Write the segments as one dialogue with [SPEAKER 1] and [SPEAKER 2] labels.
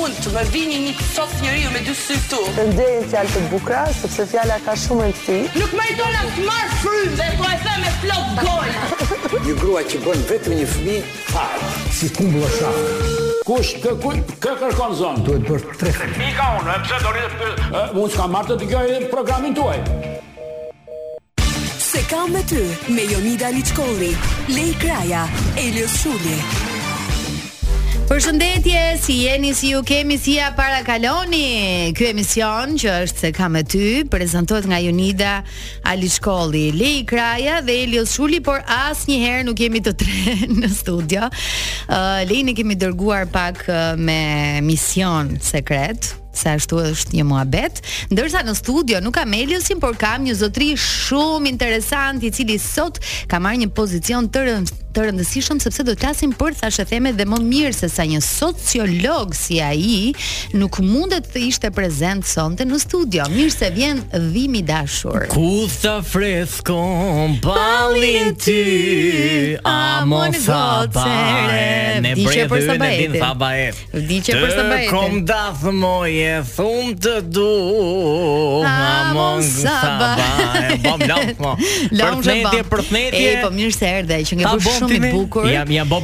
[SPEAKER 1] unë të më vini një sot njeriu me dy sy këtu.
[SPEAKER 2] Të ndjejë fjalë të bukura, sepse fjala ka shumë rëndësi.
[SPEAKER 1] Nuk më dona të marr frymë dhe po e them me plot gojë.
[SPEAKER 3] Një grua që bën vetëm një fëmijë fare.
[SPEAKER 4] si kumbulla shafë.
[SPEAKER 5] Kush kë kë, kë kërkon zonë?
[SPEAKER 4] Duhet bërë tre
[SPEAKER 5] Mika unë, e pse do rritë... Unë s'kam marrë të dëgjoj programin tuaj.
[SPEAKER 6] Se kam me ty me Jonida Liçkolli, Lej Kraja, Elios Shuli.
[SPEAKER 7] Përshëndetje, si jeni, si ju kemi, si ja para kaloni. Ky emision që është se kam me ty, prezantohet nga Jonida Ali Shkolli, Lei Kraja dhe Elios Shuli, por asnjëherë nuk jemi të tre në studio. Uh, Leini kemi dërguar pak ë, me mision sekret se ashtu është një muhabet, ndërsa në studio nuk kam Eliosin, por kam një zotëri shumë interesant i cili sot ka marrë një pozicion të rëndë të rëndësishëm sepse do të flasim për thashë theme dhe më mirë se sa një sociolog si ai nuk mundet të ishte prezent sonte në studio. Mirë se vjen dhimi i dashur.
[SPEAKER 8] Ku tha freskon pallin ty A mo sabare Ne
[SPEAKER 7] Vdiqe
[SPEAKER 8] bredhë
[SPEAKER 7] për
[SPEAKER 8] hyn e
[SPEAKER 7] sabahetin.
[SPEAKER 8] din sabahet
[SPEAKER 7] Vdiqe për sabahetin.
[SPEAKER 8] Të kom dathë moje Thumë të du
[SPEAKER 7] A,
[SPEAKER 8] A mo
[SPEAKER 7] mon sabahet.
[SPEAKER 8] sabahet Po blok mo
[SPEAKER 7] Lom zhe
[SPEAKER 8] Përthnetje,
[SPEAKER 7] bam.
[SPEAKER 8] përthnetje
[SPEAKER 7] E po mirë se erdhe, që
[SPEAKER 8] Ta
[SPEAKER 7] nge bësh
[SPEAKER 8] bom
[SPEAKER 7] shumë
[SPEAKER 8] time?
[SPEAKER 7] i bukur.
[SPEAKER 8] Jam, jam bo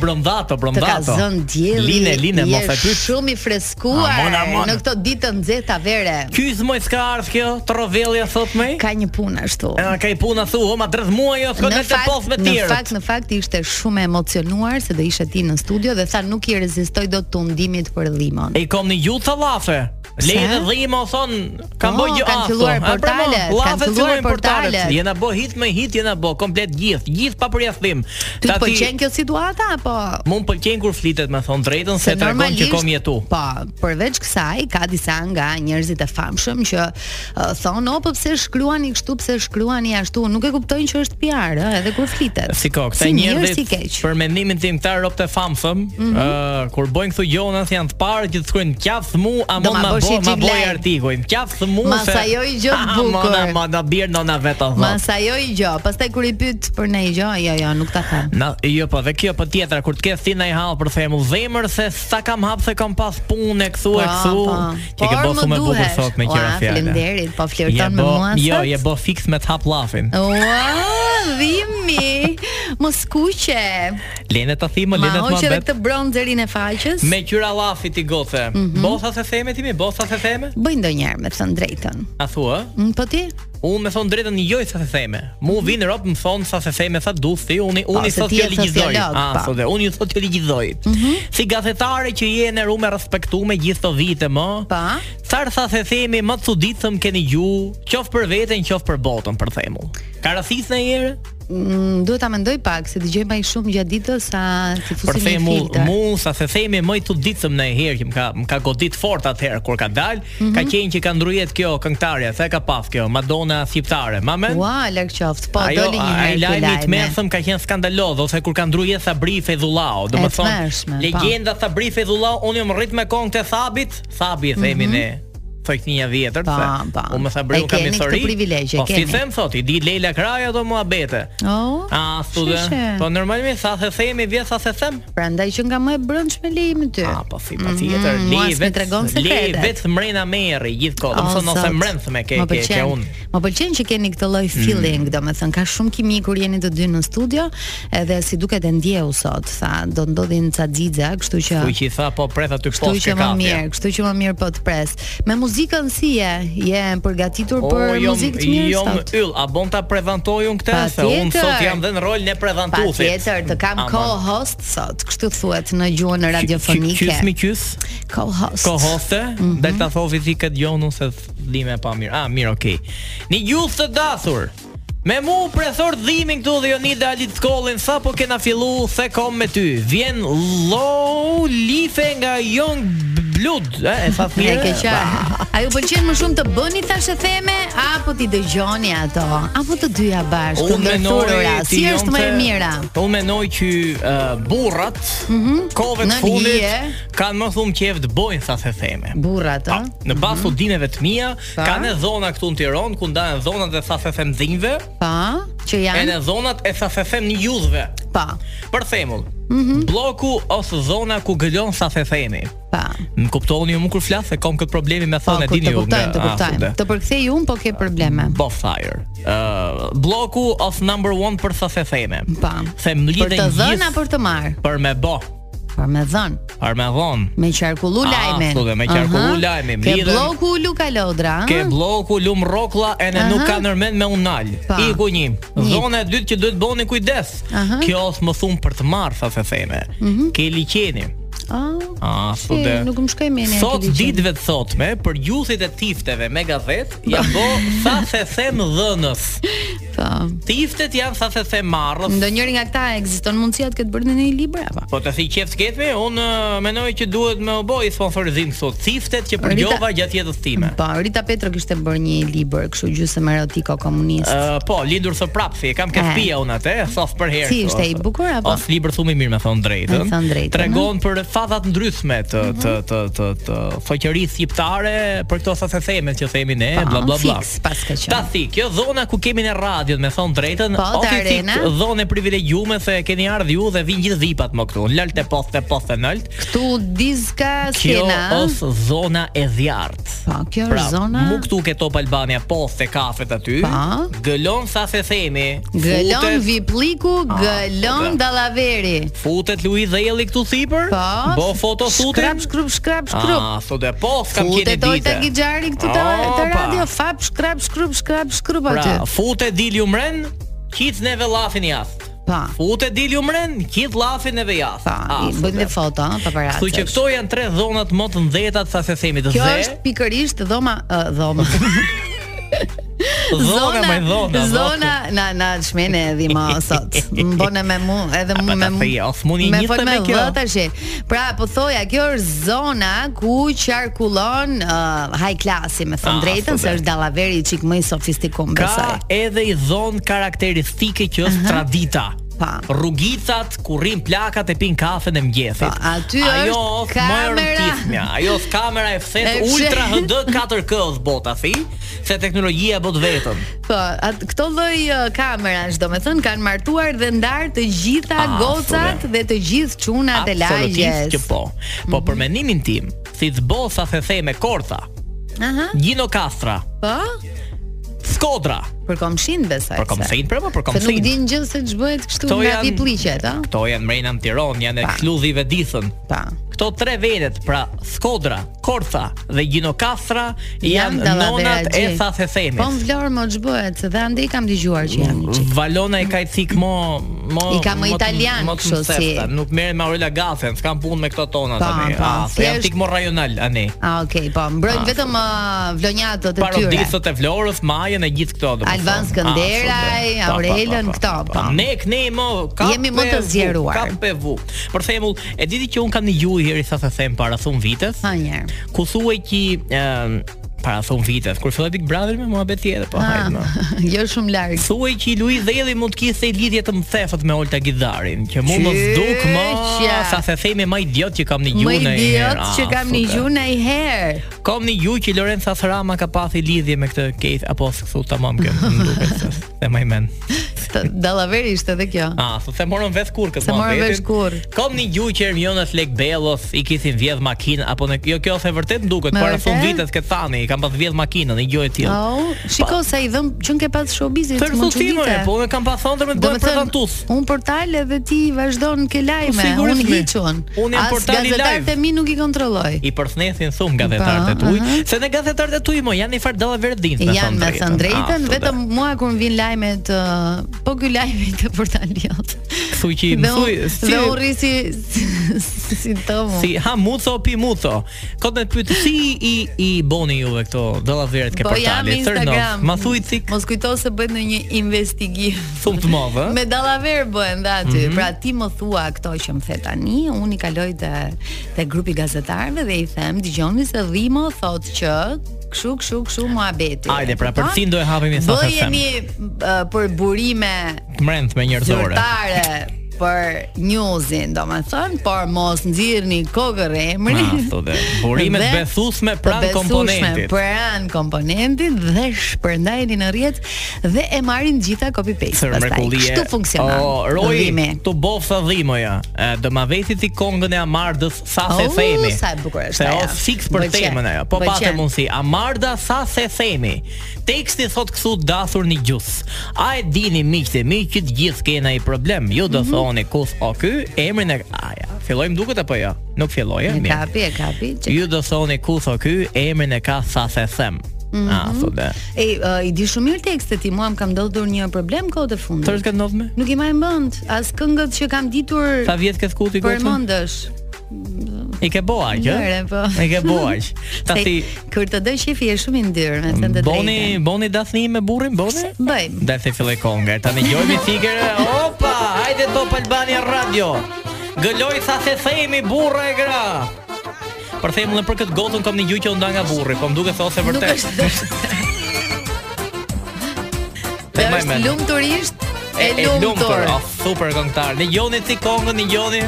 [SPEAKER 7] Të
[SPEAKER 8] brëndato,
[SPEAKER 7] ka
[SPEAKER 8] brëndato
[SPEAKER 7] zënë dielli.
[SPEAKER 8] Line, line, mos e
[SPEAKER 7] je
[SPEAKER 8] pyet
[SPEAKER 7] Shumë i freskuar
[SPEAKER 8] Amon, amon.
[SPEAKER 7] në këto ditë të nxehta vere.
[SPEAKER 8] Kyz moj s'ka ardh kjo Të rovelja thot me
[SPEAKER 7] Ka një punë ashtu.
[SPEAKER 8] A ka i puna thu, o ma dredh mua jo, s'ko të të poth me
[SPEAKER 7] në
[SPEAKER 8] tjerët.
[SPEAKER 7] fakt, në fakt ishte shumë emocionuar se do ishe ti në studio dhe tha nuk i rezistoj dot të undimit për dhimon.
[SPEAKER 8] E i kom një gjutë të lafe
[SPEAKER 7] Se?
[SPEAKER 8] Lejnë dhe dhima o thonë Kam
[SPEAKER 7] Oh,
[SPEAKER 8] boj gjutë
[SPEAKER 7] kanë filluar portalet, kanë filluar portalet.
[SPEAKER 8] Jena bo hit me hit jena bo Komplet gjithë Gjithë pa përjathim
[SPEAKER 7] Ty të pëlqen kjo situata apo
[SPEAKER 8] Mund pëlqen kur flitet me thonë drejtën Se të regon që kom jetu
[SPEAKER 7] po, përveç kësaj ka disa nga njerëzit e famshëm që uh, thonë, "O, po pse shkruani kështu, pse shkruani ashtu?" Nuk e kuptojnë që është PR, ë, edhe kur flitet.
[SPEAKER 8] Si ko, këta
[SPEAKER 7] si mirë,
[SPEAKER 8] njerëzit
[SPEAKER 7] si keq. Mhm.
[SPEAKER 8] për mendimin tim këta ropt e famshëm, ë kur bojnë këtu jonat janë të parë që të shkruajnë qafë mu, a
[SPEAKER 7] Do
[SPEAKER 8] mund
[SPEAKER 7] ma
[SPEAKER 8] ma
[SPEAKER 7] bësh
[SPEAKER 8] boj,
[SPEAKER 7] i
[SPEAKER 8] ma boj
[SPEAKER 7] gjilaj."
[SPEAKER 8] artikuj. Qafë mu
[SPEAKER 7] Mas ajo jo i gjë të bukur.
[SPEAKER 8] Ma ma da bir nona vetë thotë.
[SPEAKER 7] Mas ajo jo i gjë, pastaj kur i pyet për ne i gjë, jo, jo, nuk ta them.
[SPEAKER 8] Na, jo po, dhe kjo po tjetra, kur të ke si në i halë për themull zemër, se sa kam hapë se kam pas punë e këtu e
[SPEAKER 7] Po,
[SPEAKER 8] këtu,
[SPEAKER 7] po.
[SPEAKER 8] që ke
[SPEAKER 7] Por
[SPEAKER 8] bofu
[SPEAKER 7] më
[SPEAKER 8] me bukur
[SPEAKER 7] duhesh.
[SPEAKER 8] sot me qëra
[SPEAKER 7] Ua,
[SPEAKER 8] fjallë.
[SPEAKER 7] faleminderit, po flirton me mua
[SPEAKER 8] Jo,
[SPEAKER 7] sot?
[SPEAKER 8] je bo fix me të hap lafin.
[SPEAKER 7] Ua, dhimi, mos kuqe.
[SPEAKER 8] Lene të thimë,
[SPEAKER 7] Ma
[SPEAKER 8] lene Po,
[SPEAKER 7] hoqë
[SPEAKER 8] të më
[SPEAKER 7] edhe
[SPEAKER 8] bet.
[SPEAKER 7] këtë bronzerin e faqes.
[SPEAKER 8] Me qyra lafit i gote.
[SPEAKER 7] Mhm.
[SPEAKER 8] Bosa se theme timi, bosa se theme?
[SPEAKER 7] Bëj ndonjëherë me të thënë drejtën.
[SPEAKER 8] A thua?
[SPEAKER 7] Mm, Po ti?
[SPEAKER 8] Unë me thonë drejtën një joj sa se theme. Mu vinë rob më thonë sa se theme, sa du, si, unë, unë i
[SPEAKER 7] Mhm. se
[SPEAKER 8] sot
[SPEAKER 7] ti
[SPEAKER 8] që
[SPEAKER 7] je
[SPEAKER 8] ligjizoj.
[SPEAKER 7] sociolog,
[SPEAKER 8] A,
[SPEAKER 7] po.
[SPEAKER 8] sot e, unë ju sot që ligjizoj.
[SPEAKER 7] Mhm.
[SPEAKER 8] Si gazetare që je në rume respektu me gjithë të vite më,
[SPEAKER 7] Pa.
[SPEAKER 8] Thar tha se themi më të suditëm keni ju, qoftë për veten, qoftë për botën për themull. Ka rasis në herë?
[SPEAKER 7] Mm, duhet ta mendoj pak se dëgjoj më shumë gjatë ditës sa ti fusim
[SPEAKER 8] Për
[SPEAKER 7] Po një
[SPEAKER 8] themull,
[SPEAKER 7] filtër.
[SPEAKER 8] mu sa se themi më të suditëm në herë që më ka më ka godit fort atëherë kur ka dal, ka
[SPEAKER 7] Mhm.
[SPEAKER 8] qenë që ka ndrujet kjo këngëtarja, sa e ka pas kjo Madonna shqiptare. Ma mend?
[SPEAKER 7] Ua, lak qoftë. Po doli një
[SPEAKER 8] ai
[SPEAKER 7] herë ky
[SPEAKER 8] lajmi i
[SPEAKER 7] lajme.
[SPEAKER 8] tmerrshëm ka qenë skandaloz ose kur ka ndrujet Sabri Fedullau,
[SPEAKER 7] tmerrshme,
[SPEAKER 8] domethënë
[SPEAKER 7] po.
[SPEAKER 8] legjenda Sabri Fedullau, unë jam rrit me kongë të Thabit, Thabi e themi ne. Thojknia vjetër,
[SPEAKER 7] Pa,
[SPEAKER 8] se
[SPEAKER 7] pa.
[SPEAKER 8] unë me Sabri
[SPEAKER 7] Mhm. Po, E
[SPEAKER 8] unë kam
[SPEAKER 7] keni
[SPEAKER 8] histori.
[SPEAKER 7] këtë privilegje,
[SPEAKER 8] po si
[SPEAKER 7] keni.
[SPEAKER 8] them thot, i di Leila Kraja do muhabete.
[SPEAKER 7] Oh,
[SPEAKER 8] A, student.
[SPEAKER 7] sheshe.
[SPEAKER 8] Po normalisht sa se themi, vje sa se them.
[SPEAKER 7] Prandaj që nga më e brëndshme leji me ty.
[SPEAKER 8] A, po si pa tjetër,
[SPEAKER 7] Mhm, mua s'mi
[SPEAKER 8] le vetë
[SPEAKER 7] tregon
[SPEAKER 8] le
[SPEAKER 7] sekretet.
[SPEAKER 8] vetë mrena merri gjithkohë.
[SPEAKER 7] O,
[SPEAKER 8] Domethënë ose
[SPEAKER 7] zot.
[SPEAKER 8] mrenth me ke
[SPEAKER 7] Ah, Më
[SPEAKER 8] ke ke
[SPEAKER 7] pëlqen-
[SPEAKER 8] unë. Mm.
[SPEAKER 7] Më pëlqen që keni këtë lloj feeling, domethënë ka shumë kimi kur jeni të dy në studio, edhe si duket e ndjeu sot, tha, do ndodhin ca xixa, kështu që
[SPEAKER 8] Fuqi tha po preth aty
[SPEAKER 7] Kështu
[SPEAKER 8] poshtë
[SPEAKER 7] që më
[SPEAKER 8] kapja.
[SPEAKER 7] mirë, kështu që më mirë po të pres. Me muzikën si je? Je përgatitur për
[SPEAKER 8] jom-
[SPEAKER 7] muzikë të mirë
[SPEAKER 8] jom
[SPEAKER 7] sot?
[SPEAKER 8] yll, a bon ta prevantoj unë këtë? Se
[SPEAKER 7] Patjetër.
[SPEAKER 8] unë sot jam dhe në rolin e
[SPEAKER 7] Pa
[SPEAKER 8] prevantuesit.
[SPEAKER 7] tjetër, të kam
[SPEAKER 8] Aman.
[SPEAKER 7] co-host sot, kështu thuhet në gjuhën radiofonike. Mhm.
[SPEAKER 8] Ky- ky- Qys mi qys,
[SPEAKER 7] Co-host.
[SPEAKER 8] kohoste, del ta thovi ti këtë gjonun se dhime pa mirë. Ah, mirë, okay. Një gjuhë të dathur. Me mu prethor dhimin këtu dhe Jonida Ali të skollin Sa po kena fillu se kom me ty Vjen low life nga Young Blood E, e sa
[SPEAKER 7] E
[SPEAKER 8] thire
[SPEAKER 7] ke qartë. A ju pëlqen më shumë të bëni thashë theme apo ti dëgjoni ato? Apo të dyja bashkë? të ndërthurura?
[SPEAKER 8] ti
[SPEAKER 7] Si është më e
[SPEAKER 8] jonte-
[SPEAKER 7] mira? Mhm.
[SPEAKER 8] Unë menoj që uh, burrat Kove të
[SPEAKER 7] Në
[SPEAKER 8] fundit
[SPEAKER 7] lije.
[SPEAKER 8] Kanë më thumë qef të bojnë sa se theme
[SPEAKER 7] Burrat,
[SPEAKER 8] Pa,
[SPEAKER 7] ë?
[SPEAKER 8] në bazë
[SPEAKER 7] Mhm.
[SPEAKER 8] studimeve të mia,
[SPEAKER 7] Pa.
[SPEAKER 8] kanë edhe dhona këtu në Tiranë ku ndahen zonat e sa se them dhinjve,
[SPEAKER 7] Pa, që
[SPEAKER 8] e
[SPEAKER 7] janë
[SPEAKER 8] në zonat e sa se them një judhve.
[SPEAKER 7] Po,
[SPEAKER 8] Për thembull,
[SPEAKER 7] Mhm.
[SPEAKER 8] bloku ose zona ku gëlon sa se themi.
[SPEAKER 7] po.
[SPEAKER 8] Më kuptoni ju më kur flas se kam këtë problemi me
[SPEAKER 7] Po,
[SPEAKER 8] thonë e
[SPEAKER 7] ku
[SPEAKER 8] dini
[SPEAKER 7] të
[SPEAKER 8] ju.
[SPEAKER 7] kuptojmë, të
[SPEAKER 8] nga ah,
[SPEAKER 7] kuptojmë.
[SPEAKER 8] afërde.
[SPEAKER 7] Të përkthej unë, po ke probleme.
[SPEAKER 8] Po fire. Ë bloku of number 1 për sa se theme.
[SPEAKER 7] Po.
[SPEAKER 8] Se
[SPEAKER 7] Për
[SPEAKER 8] më lidhen
[SPEAKER 7] të dhënë
[SPEAKER 8] gjithë
[SPEAKER 7] apo për të marrë?
[SPEAKER 8] për me bo,
[SPEAKER 7] Për me dhënë,
[SPEAKER 8] për me dhon.
[SPEAKER 7] me qarkullu
[SPEAKER 8] Ah,
[SPEAKER 7] lajmin.
[SPEAKER 8] absolutisht, me qarkullu
[SPEAKER 7] Aha.
[SPEAKER 8] lajmin,
[SPEAKER 7] Ke
[SPEAKER 8] lidhen-
[SPEAKER 7] bloku Luka Lodra, ëh?
[SPEAKER 8] Ke bloku lum rrokulla e ne nuk
[SPEAKER 7] Ah. Aha.
[SPEAKER 8] ka nërmend me unal.
[SPEAKER 7] Pa.
[SPEAKER 8] Iku një.
[SPEAKER 7] Një.
[SPEAKER 8] Zona e dytë që duhet bëni kujdes.
[SPEAKER 7] Aha. Mhm.
[SPEAKER 8] Kjo os më thon për të marrë sa se theme. Ke liqeni.
[SPEAKER 7] Ah,
[SPEAKER 8] Ah,
[SPEAKER 7] si,
[SPEAKER 8] stude.
[SPEAKER 7] nuk më shkoj mendja.
[SPEAKER 8] Sot
[SPEAKER 7] ke liqeni.
[SPEAKER 8] ditëve të sotme për gjuthit e tifteve me gazet ja bo sa se them dhënës.
[SPEAKER 7] Po.
[SPEAKER 8] Tiftet janë sa se them marrës.
[SPEAKER 7] Ndonjëri nga këta ekziston mundësia të këtë bërë në një libër apo?
[SPEAKER 8] Po të si qef sketme, unë eh, menoj që duhet me u boj sponsorizim sot tiftet që përgjova gjatë jetës time.
[SPEAKER 7] Po, Rita Petro kishte bërë një libër, kështu gjysmë erotiko komunist.
[SPEAKER 8] Uh, po, lindur së prapë, si e kam ke
[SPEAKER 7] E.
[SPEAKER 8] fia unë atë, thof për herë.
[SPEAKER 7] Si,
[SPEAKER 8] thof.
[SPEAKER 7] ishte i bukur, apo?
[SPEAKER 8] Of libër shumë i mirë me thon drejtën.
[SPEAKER 7] Me thënë drejtën,
[SPEAKER 8] Tregon për fazat ndryshme të të të të, të shoqërisë shqiptare për këto sa se theme që themi ne,
[SPEAKER 7] Po,
[SPEAKER 8] bla bla bla.
[SPEAKER 7] fix, pas ka qenë.
[SPEAKER 8] Ta si, kjo zona ku kemi në radion, me thon drejtën,
[SPEAKER 7] Po,
[SPEAKER 8] o
[SPEAKER 7] të
[SPEAKER 8] ti si
[SPEAKER 7] arena.
[SPEAKER 8] zonë e privilegjume se keni ardhur ju dhe vin gjithë dhipat më këtu. Lalt e post e post e nalt.
[SPEAKER 7] Këtu diska
[SPEAKER 8] Kjo
[SPEAKER 7] skena.
[SPEAKER 8] është zona e djartë.
[SPEAKER 7] Po, kjo është
[SPEAKER 8] Pra,
[SPEAKER 7] zona.
[SPEAKER 8] mu këtu ke Top Albania post e kafet aty.
[SPEAKER 7] Pa.
[SPEAKER 8] Gëlon sa se themi.
[SPEAKER 7] Gëlon
[SPEAKER 8] futet-
[SPEAKER 7] Vipliku,
[SPEAKER 8] po,
[SPEAKER 7] gëlon
[SPEAKER 8] dhe.
[SPEAKER 7] Dallaveri.
[SPEAKER 8] Futet Luiz Dhelli këtu sipër.
[SPEAKER 7] Po.
[SPEAKER 8] Bo foto
[SPEAKER 7] Shkrap,
[SPEAKER 8] sutin.
[SPEAKER 7] shkrup, shkrap, shkrup.
[SPEAKER 8] Ah, sot e po, s'kam qenë
[SPEAKER 7] Futet Olta
[SPEAKER 8] ditë.
[SPEAKER 7] Gixhari këtu te te
[SPEAKER 8] Opa.
[SPEAKER 7] radio, fap, shkrap, shkrup, shkrap, shkrup aty.
[SPEAKER 8] Pra, futet Dilju Mren, qit neve llafin jashtë.
[SPEAKER 7] Pa.
[SPEAKER 8] Futet Dilju Mren, qit llafin neve jashtë.
[SPEAKER 7] Pa,
[SPEAKER 8] Ah,
[SPEAKER 7] Po, i
[SPEAKER 8] sot
[SPEAKER 7] bëjmë
[SPEAKER 8] e
[SPEAKER 7] dhe foto, ha,
[SPEAKER 8] Kështu që
[SPEAKER 7] paparazzi.
[SPEAKER 8] këto janë tre zonat më të ndëta sa se themi të
[SPEAKER 7] Kjo
[SPEAKER 8] dhe.
[SPEAKER 7] është pikërisht dhoma, ë, dhoma.
[SPEAKER 8] zona më dhona. mo.
[SPEAKER 7] Zona na na çmene edhe më sot. Mbone me mu, edhe mu
[SPEAKER 8] Ata
[SPEAKER 7] me mu.
[SPEAKER 8] thia, "Of, muni njëtë
[SPEAKER 7] fol
[SPEAKER 8] me kjo."
[SPEAKER 7] vë tash. Pra po thoja, kjo është zona ku qarkullon uh, high klasi me thënë
[SPEAKER 8] Ah,
[SPEAKER 7] drejtën se
[SPEAKER 8] thuaj.
[SPEAKER 7] është dallaveri çik më i sofistikuar besoj.
[SPEAKER 8] Ka edhe i zonë karakteristike që është tradita.
[SPEAKER 7] Mhm. Pa.
[SPEAKER 8] Rrugicat ku rrin plakat e pin kafen e mëngjesit.
[SPEAKER 7] Pa, aty është
[SPEAKER 8] ajo është më e
[SPEAKER 7] kamera.
[SPEAKER 8] rëndësishmja. Ajo është kamera e
[SPEAKER 7] E
[SPEAKER 8] fshet
[SPEAKER 7] fshet.
[SPEAKER 8] Ultra HD 4K është bota si, se teknologjia e bot vetën.
[SPEAKER 7] Po, at, këto lloj uh, kamerash, domethënë kanë martuar dhe ndar të gjitha
[SPEAKER 8] Ah,
[SPEAKER 7] gocat
[SPEAKER 8] absolutisht.
[SPEAKER 7] dhe të gjithë çunat e
[SPEAKER 8] Absolutisht
[SPEAKER 7] lagjes.
[SPEAKER 8] që po. Po
[SPEAKER 7] Mhm.
[SPEAKER 8] për mendimin tim, si zbosa se theme Korta, po-
[SPEAKER 7] Aha.
[SPEAKER 8] Gjino Kastra,
[SPEAKER 7] Po,
[SPEAKER 8] Skodra,
[SPEAKER 7] për komshin besoj.
[SPEAKER 8] për
[SPEAKER 7] se.
[SPEAKER 8] komsin, pra po për
[SPEAKER 7] Se nuk
[SPEAKER 8] komsin.
[SPEAKER 7] din gjë se ç'bëhet kështu
[SPEAKER 8] Këto
[SPEAKER 7] nga
[SPEAKER 8] janë-
[SPEAKER 7] vipliqet, a?
[SPEAKER 8] Këto janë mrena në Tiranë, janë
[SPEAKER 7] Pa.
[SPEAKER 8] ekskluzive ditën.
[SPEAKER 7] Pa.
[SPEAKER 8] Këto tre vendet, pra Skodra, Kortha dhe Gjinokastra
[SPEAKER 7] Jam
[SPEAKER 8] janë nonat e
[SPEAKER 7] sa Po në
[SPEAKER 8] Sathethemit.
[SPEAKER 7] Vlorë më ç'bëhet, se dhe andej kam dëgjuar që janë
[SPEAKER 8] Mm.
[SPEAKER 7] një çik.
[SPEAKER 8] Valona e ka i cik mo, mo
[SPEAKER 7] I ka më
[SPEAKER 8] të-
[SPEAKER 7] italian,
[SPEAKER 8] më të
[SPEAKER 7] kështu si-
[SPEAKER 8] mësefta. Nuk merren me Aurela Gafen, s'kam punë me këto tona
[SPEAKER 7] Pa,
[SPEAKER 8] tani.
[SPEAKER 7] pa,
[SPEAKER 8] Ah, se janë
[SPEAKER 7] thjesht-
[SPEAKER 8] cik mo rajonal ani.
[SPEAKER 7] Ah, okay, po, mbrojnë vetëm uh, vlonjatët e tyre.
[SPEAKER 8] Parodisët e Florës, Majën e gjithë këto domethënë.
[SPEAKER 7] Alban Skënderaj,
[SPEAKER 8] Ah, po, po.
[SPEAKER 7] Aurelën,
[SPEAKER 8] Pa, pa,
[SPEAKER 7] këto,
[SPEAKER 8] pa, pa.
[SPEAKER 7] po.
[SPEAKER 8] Ne ne më ka
[SPEAKER 7] Jemi më të zgjeruar.
[SPEAKER 8] Ka PV. Për thembull, e diti që un kam një gjuhë heri sa të them para thon viteve.
[SPEAKER 7] Ha njerë.
[SPEAKER 8] ku thuaj që ëm para thon viteve, kur filloi Big Brother me muhabet tjetër, po
[SPEAKER 7] Ah,
[SPEAKER 8] hajde. më.
[SPEAKER 7] jo shumë larg.
[SPEAKER 8] Thuaj që Luiz Dhelli mund të kishte lidhje të mëthefët me Olta Gidarin, që mu mos duk më
[SPEAKER 7] Qyqja.
[SPEAKER 8] sa se themi më idiot që kam në
[SPEAKER 7] Më
[SPEAKER 8] gjuhë në Ah,
[SPEAKER 7] idiot që kam një gjuhë në i herë
[SPEAKER 8] Kam në gjuhë që Lorenza Sarama ka pasi lidhje me këtë Keith apo se thu tamam kë, më duket se se më i men.
[SPEAKER 7] Të- Dallaveri ishte edhe kjo
[SPEAKER 8] Ah, thu se morën vesh kur këtë
[SPEAKER 7] Se morën
[SPEAKER 8] muhabetin.
[SPEAKER 7] vesh kurrë.
[SPEAKER 8] Kam në gjuhë që Hermiona Slek Bellos i kishin vjedh makinë apo në jo kjo se vërtet më duket
[SPEAKER 7] Me
[SPEAKER 8] para fund
[SPEAKER 7] vërtet? Oh,
[SPEAKER 8] vitet këtë thani, i kam pas vjedh makinën, një gjuhë e tillë.
[SPEAKER 7] Au, shiko sa i dhëm që ke pas showbizit,
[SPEAKER 8] Tërë
[SPEAKER 7] më
[SPEAKER 8] thutime,
[SPEAKER 7] çudite.
[SPEAKER 8] po unë kam pas thënë me të bëjë
[SPEAKER 7] thënë,
[SPEAKER 8] prezantues.
[SPEAKER 7] un portal edhe ti vazhdon ke lajme,
[SPEAKER 8] Po, sigurisht
[SPEAKER 7] un
[SPEAKER 8] me.
[SPEAKER 7] hiqun.
[SPEAKER 8] Unë jam portali live.
[SPEAKER 7] Gazetarët e mi nuk i kontrolloj.
[SPEAKER 8] I përthnesin thum gazetarët e
[SPEAKER 7] Po,
[SPEAKER 8] tuaj,
[SPEAKER 7] aha.
[SPEAKER 8] se në gazetarët e tuaj mo janë një farë dalla verdin.
[SPEAKER 7] Janë me thënë
[SPEAKER 8] Ah,
[SPEAKER 7] drejtën, vetëm mua kur më vin lajmet, ë, po ky lajmi te portali jot.
[SPEAKER 8] thuaj që
[SPEAKER 7] Dhe
[SPEAKER 8] mësuj
[SPEAKER 7] unë-
[SPEAKER 8] si
[SPEAKER 7] dhe unë rri si si- si tomu.
[SPEAKER 8] si ha muco pi muco. Kot në pyet si i i boni juve këto dalla veret ke
[SPEAKER 7] Po jam
[SPEAKER 8] portali, tërë
[SPEAKER 7] Instagram.
[SPEAKER 8] Ma thuj cik
[SPEAKER 7] Mos kujto se bëhet në një investigim.
[SPEAKER 8] thum të Mhm. madhe.
[SPEAKER 7] Me dallaver bëhen dhe aty. Pra ti më thua këto që më the tani, unë i kaloj te te grupi gazetarëve dhe i them, dëgjoni se dhimo thotë që kshu kshu kshu muhabeti.
[SPEAKER 8] Hajde, pra, për
[SPEAKER 7] Kupton?
[SPEAKER 8] cilin do e hapim një sasë
[SPEAKER 7] Bëjeni uh, për burime
[SPEAKER 8] Mrend me njerëzore.
[SPEAKER 7] zyrtare për newsin, domethënë, por mos nxirrni kokër emrin.
[SPEAKER 8] Ma, thotë, burimet
[SPEAKER 7] Dhe-
[SPEAKER 8] besuesme pran
[SPEAKER 7] të besueshme
[SPEAKER 8] komponentit.
[SPEAKER 7] Pran komponentit dhe shpërndajeni në rrjet dhe e marrin gjitha copy paste.
[SPEAKER 8] Sër mrekullie.
[SPEAKER 7] Kështu funksionon.
[SPEAKER 8] O, roi,
[SPEAKER 7] Dhimi.
[SPEAKER 8] tu bofsa dhimoja. Dëmaveti ti kongën e Amardës sa se
[SPEAKER 7] Oh,
[SPEAKER 8] themi.
[SPEAKER 7] sa e bukur është
[SPEAKER 8] Se
[SPEAKER 7] ajo.
[SPEAKER 8] o fix për
[SPEAKER 7] Pëlqen,
[SPEAKER 8] temën ajo. Po patë
[SPEAKER 7] pëlqen.
[SPEAKER 8] mundsi. Amarda sa se themi. Teksti thot këtu dathur në gjus. A e dini miqtë e mi që të gjithë kena i problem. Ju
[SPEAKER 7] Mhm.
[SPEAKER 8] do thoni kus o ky emrin e aja. Fillojmë duket apo jo? Nuk filloi, e
[SPEAKER 7] E
[SPEAKER 8] mirë.
[SPEAKER 7] kapi, e kapi. Që...
[SPEAKER 8] Ju do thoni kus o ky emrin e ka sa se them. Ah,
[SPEAKER 7] Mhm.
[SPEAKER 8] thotë.
[SPEAKER 7] E, uh, i di shumë mirë tekstet ti, mua më kam ndodhur një problem kohë të fundit.
[SPEAKER 8] Tërë këtë ndodhme?
[SPEAKER 7] Nuk i maj mend as këngët që kam ditur
[SPEAKER 8] Sa vjet ke skuti gocën?
[SPEAKER 7] përmendesh.
[SPEAKER 8] I ke bo aq, ë?
[SPEAKER 7] Njëre, po.
[SPEAKER 8] I ke bo aq. Ta
[SPEAKER 7] Se
[SPEAKER 8] si
[SPEAKER 7] kur të doj shefi e shumë i ndyrë, me thënë të
[SPEAKER 8] Boni,
[SPEAKER 7] drejtën.
[SPEAKER 8] boni dathni me burrin, boni?
[SPEAKER 7] Se- Bëjmë.
[SPEAKER 8] Dhe se filloj konga. Ta dëgjojmë fikere. Opa, hajde Top Albania Radio. Gëloj sa se themi burra e gra. Për themëllën për këtë gotën kom një gjyqe u nda nga burri, po më duket se ose
[SPEAKER 7] Nuk
[SPEAKER 8] vërtet.
[SPEAKER 7] është dëshë.
[SPEAKER 8] Te mbaj
[SPEAKER 7] është
[SPEAKER 8] mend.
[SPEAKER 7] lumturisht e,
[SPEAKER 8] E- e
[SPEAKER 7] lumtur.
[SPEAKER 8] lumtur. Oh, super këngëtar. Dëgjoni ti kongën, dëgjoni.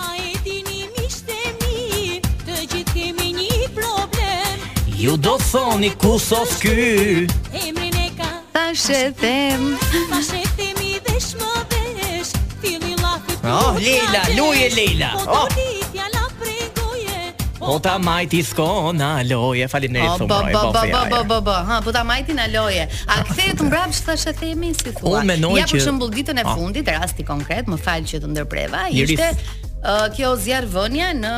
[SPEAKER 4] A e dini miqtë e mi, të gjithë kemi një problem
[SPEAKER 8] Ju do thoni ku sos ky?
[SPEAKER 4] Emrin e ka,
[SPEAKER 7] Tash e them,
[SPEAKER 4] ma shetemi dhe shmo vesh Fili lafi
[SPEAKER 8] Oh, Leila, luje, Leila.
[SPEAKER 4] Po
[SPEAKER 8] Oh.
[SPEAKER 4] të ditja la pregoje
[SPEAKER 8] Po ta majti skon aloje,
[SPEAKER 7] o
[SPEAKER 8] faleminderit
[SPEAKER 7] Oh, bo
[SPEAKER 8] thumbroj.
[SPEAKER 7] bo bo
[SPEAKER 8] bofi,
[SPEAKER 7] bo
[SPEAKER 8] ajo.
[SPEAKER 7] bo bo bo, ha, po ta majtin aloje. A kthehet mbrapsht tash e themi si thua.
[SPEAKER 8] Unë menoj
[SPEAKER 7] ja për
[SPEAKER 8] që-
[SPEAKER 7] shembull ditën e
[SPEAKER 8] Ah.
[SPEAKER 7] fundit, rasti konkret, më fal që të ndërpreva,
[SPEAKER 8] Iris.
[SPEAKER 7] ishte ë, kjo zjarrvënia në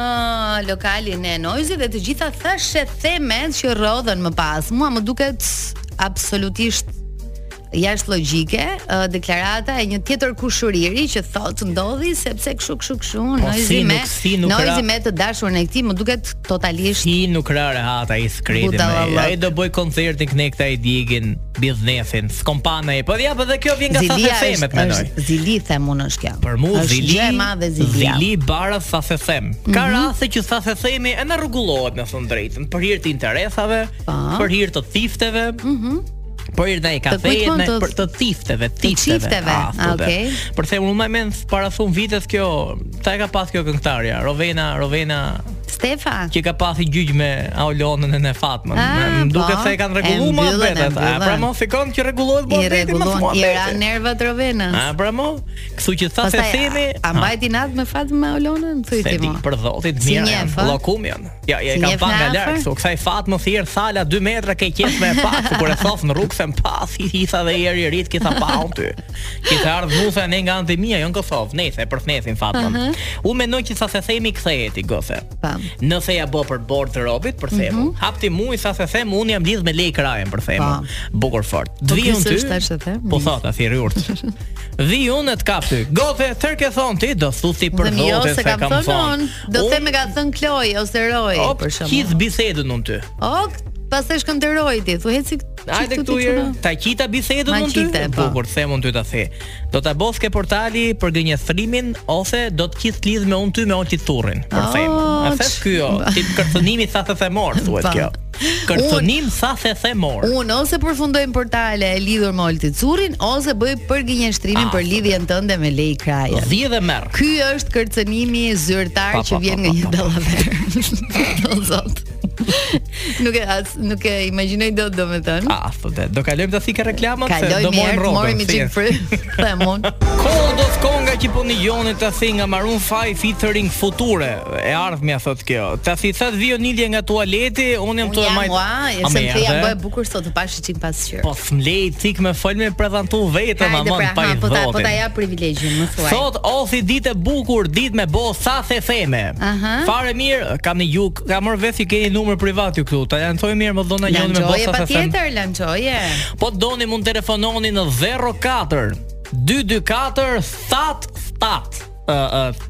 [SPEAKER 7] lokalin e Noizit dhe të gjitha thashë themet që rrodhen më pas. Mua më duket absolutisht jashtë logjike ë, deklarata e një tjetër kushëriri që thotë ndodhi sepse kështu kështu kështu Noizi
[SPEAKER 8] Po, si
[SPEAKER 7] me
[SPEAKER 8] nuk- si nuk ra-
[SPEAKER 7] Noizi me të dashurën e këtij më duket totalisht
[SPEAKER 8] Ti nuk ra rehat ai skreti
[SPEAKER 7] Buta
[SPEAKER 8] me.
[SPEAKER 7] vallak.
[SPEAKER 8] Ai do bëj koncertin kënekta i digin, biznesin, skompana e. Po ja, po dhe kjo vjen nga
[SPEAKER 7] Zilia
[SPEAKER 8] sa themet mendoj.
[SPEAKER 7] është zili them unë është kjo.
[SPEAKER 8] Për mu
[SPEAKER 7] është
[SPEAKER 8] zili,
[SPEAKER 7] gjë e madhe zilia. Mhm.
[SPEAKER 8] zili bara sa se them. Ka raste që sa se themi e na rregullohet në thënë drejtën, për hir të interesave,
[SPEAKER 7] Pa.
[SPEAKER 8] për hir të thifteve. Për hir ndaj kafejit,
[SPEAKER 7] kujt po,
[SPEAKER 8] ndaj
[SPEAKER 7] të-
[SPEAKER 8] për të thifteve, thifteve.
[SPEAKER 7] qifteve,
[SPEAKER 8] Ah,
[SPEAKER 7] a,
[SPEAKER 8] thotë.
[SPEAKER 7] okej.
[SPEAKER 8] Për thembull, unë më mend para thon vitet kjo, ta e ka pas kjo këngëtarja, Rovena, Rovena
[SPEAKER 7] Stefa.
[SPEAKER 8] që ka pasi gjyq me Aulonën e Fatmën.
[SPEAKER 7] Ah,
[SPEAKER 8] Me- Më duket
[SPEAKER 7] po.
[SPEAKER 8] se e kanë
[SPEAKER 7] E
[SPEAKER 8] rregulluar ma
[SPEAKER 7] mbyllën, e
[SPEAKER 8] vetë. ata. A
[SPEAKER 7] mbyllën.
[SPEAKER 8] pra mo fikon që rregullohet
[SPEAKER 7] I
[SPEAKER 8] bota vetë po më
[SPEAKER 7] rregullon,
[SPEAKER 8] thua
[SPEAKER 7] i ra
[SPEAKER 8] vetë.
[SPEAKER 7] nervat Rovenës.
[SPEAKER 8] A pra mo, kështu që tha se
[SPEAKER 7] Pastaj,
[SPEAKER 8] themi,
[SPEAKER 7] a, a mbajti natë me Fatma Olonën, thuj
[SPEAKER 8] Se
[SPEAKER 7] ti
[SPEAKER 8] di,
[SPEAKER 7] mua.
[SPEAKER 8] për zotit
[SPEAKER 7] Si
[SPEAKER 8] mirë janë,
[SPEAKER 7] njef, a?
[SPEAKER 8] llokum janë. Ja, ja,
[SPEAKER 7] Si
[SPEAKER 8] kam
[SPEAKER 7] njef
[SPEAKER 8] pa
[SPEAKER 7] nga
[SPEAKER 8] nga
[SPEAKER 7] afër?
[SPEAKER 8] larg, kështu kësaj fat më thirr thala 2 metra ke qef me pa, ku kur e thof në rrugë se më pa, si hitha dhe ieri rit kitha pa unë ty. Kitha ardh musa ne nga antimia, jo në Kosovë, nejse për fnesin fatën. U mendoj që sa se themi ktheheti gose.
[SPEAKER 7] Pam.
[SPEAKER 8] Nëse ja bë për bord të robit, për themun,
[SPEAKER 7] Mhm.
[SPEAKER 8] hapti mua sa se them, unë jam lidh me lej krajen për themun.
[SPEAKER 7] Pam.
[SPEAKER 8] Bukur fort.
[SPEAKER 7] ky
[SPEAKER 8] Dvion ty.
[SPEAKER 7] s'është tash e them?
[SPEAKER 8] Po thata thirri urt. Dhi unë të kap ty. Gote, tër ke thon ti, do thusi për
[SPEAKER 7] Dhe mi jo
[SPEAKER 8] zotin
[SPEAKER 7] se kam thënë unë, do
[SPEAKER 8] Unë-
[SPEAKER 7] them e ka thënë Kloj ose Roy
[SPEAKER 8] Op,
[SPEAKER 7] për shembull.
[SPEAKER 8] hidh bisedën unë ty.
[SPEAKER 7] Ok, pastaj shkon te Roy ti, thuaj si
[SPEAKER 8] Hajde këtu herë. Ta qita bisedën
[SPEAKER 7] Ma
[SPEAKER 8] unë ty.
[SPEAKER 7] qite, po.
[SPEAKER 8] Bukur, them unë ty ta the. Do ta bos ke portali për gënjeshtrimin ose do të qit lidh me unë ty me onë ti thurrin. Për
[SPEAKER 7] Oh,
[SPEAKER 8] them. A thes
[SPEAKER 7] ç-
[SPEAKER 8] ky o, tip kërcënimi sa the themor thuhet
[SPEAKER 7] Pa.
[SPEAKER 8] kjo. Kërcënim sa the themor.
[SPEAKER 7] Unë ose përfundojmë portale e lidhur me Olti Currin ose bëj përgjinjështrimin
[SPEAKER 8] Ah,
[SPEAKER 7] për lidhjen tënde me Lej Kraja.
[SPEAKER 8] Dhi dhe merr.
[SPEAKER 7] Ky është kërcënimi zyrtar
[SPEAKER 8] Pa, pa,
[SPEAKER 7] që vjen
[SPEAKER 8] pa,
[SPEAKER 7] nga
[SPEAKER 8] pa,
[SPEAKER 7] një
[SPEAKER 8] pa.
[SPEAKER 7] dallaver. O zot. nuk e as nuk e imagjinoj dot domethënë.
[SPEAKER 8] Ah, thotë, do kalojmë të thikë reklamat se
[SPEAKER 7] Kaloj
[SPEAKER 8] do
[SPEAKER 7] mirë,
[SPEAKER 8] morëm rrobën.
[SPEAKER 7] morëm i
[SPEAKER 8] si
[SPEAKER 7] çik
[SPEAKER 8] e.
[SPEAKER 7] fry. Them unë.
[SPEAKER 8] Kodos konga që po nijoni të si nga Maroon 5 featuring Future E ardhmja thot kjo Ta si sa të vijo nidje nga tualeti Unë jam
[SPEAKER 7] Unë
[SPEAKER 8] të e
[SPEAKER 7] jam
[SPEAKER 8] majtë
[SPEAKER 7] ua,
[SPEAKER 8] A
[SPEAKER 7] jesë
[SPEAKER 8] me
[SPEAKER 7] më thëja
[SPEAKER 8] erdhe?
[SPEAKER 7] bëj bukur sot të pash çik pas qyr.
[SPEAKER 8] Po smlej cik me fol me prezentu vetën
[SPEAKER 7] Hajde
[SPEAKER 8] Aman
[SPEAKER 7] pra,
[SPEAKER 8] pa
[SPEAKER 7] ha,
[SPEAKER 8] i
[SPEAKER 7] po ta po ta
[SPEAKER 8] dhotin
[SPEAKER 7] jap privilegjin, më thuaj.
[SPEAKER 8] Sot othi ditë e bukur, ditë me bo sa the theme.
[SPEAKER 7] Aha.
[SPEAKER 8] Fare mirë, kam një juk, kam marr vetë që keni numër privat ju këtu. Ta lançoj mirë më dhona joni me bo
[SPEAKER 7] Lançoje
[SPEAKER 8] sa the theme.
[SPEAKER 7] patjetër, lançoje.
[SPEAKER 8] Po doni mund telefononi në 04 224 777 ë,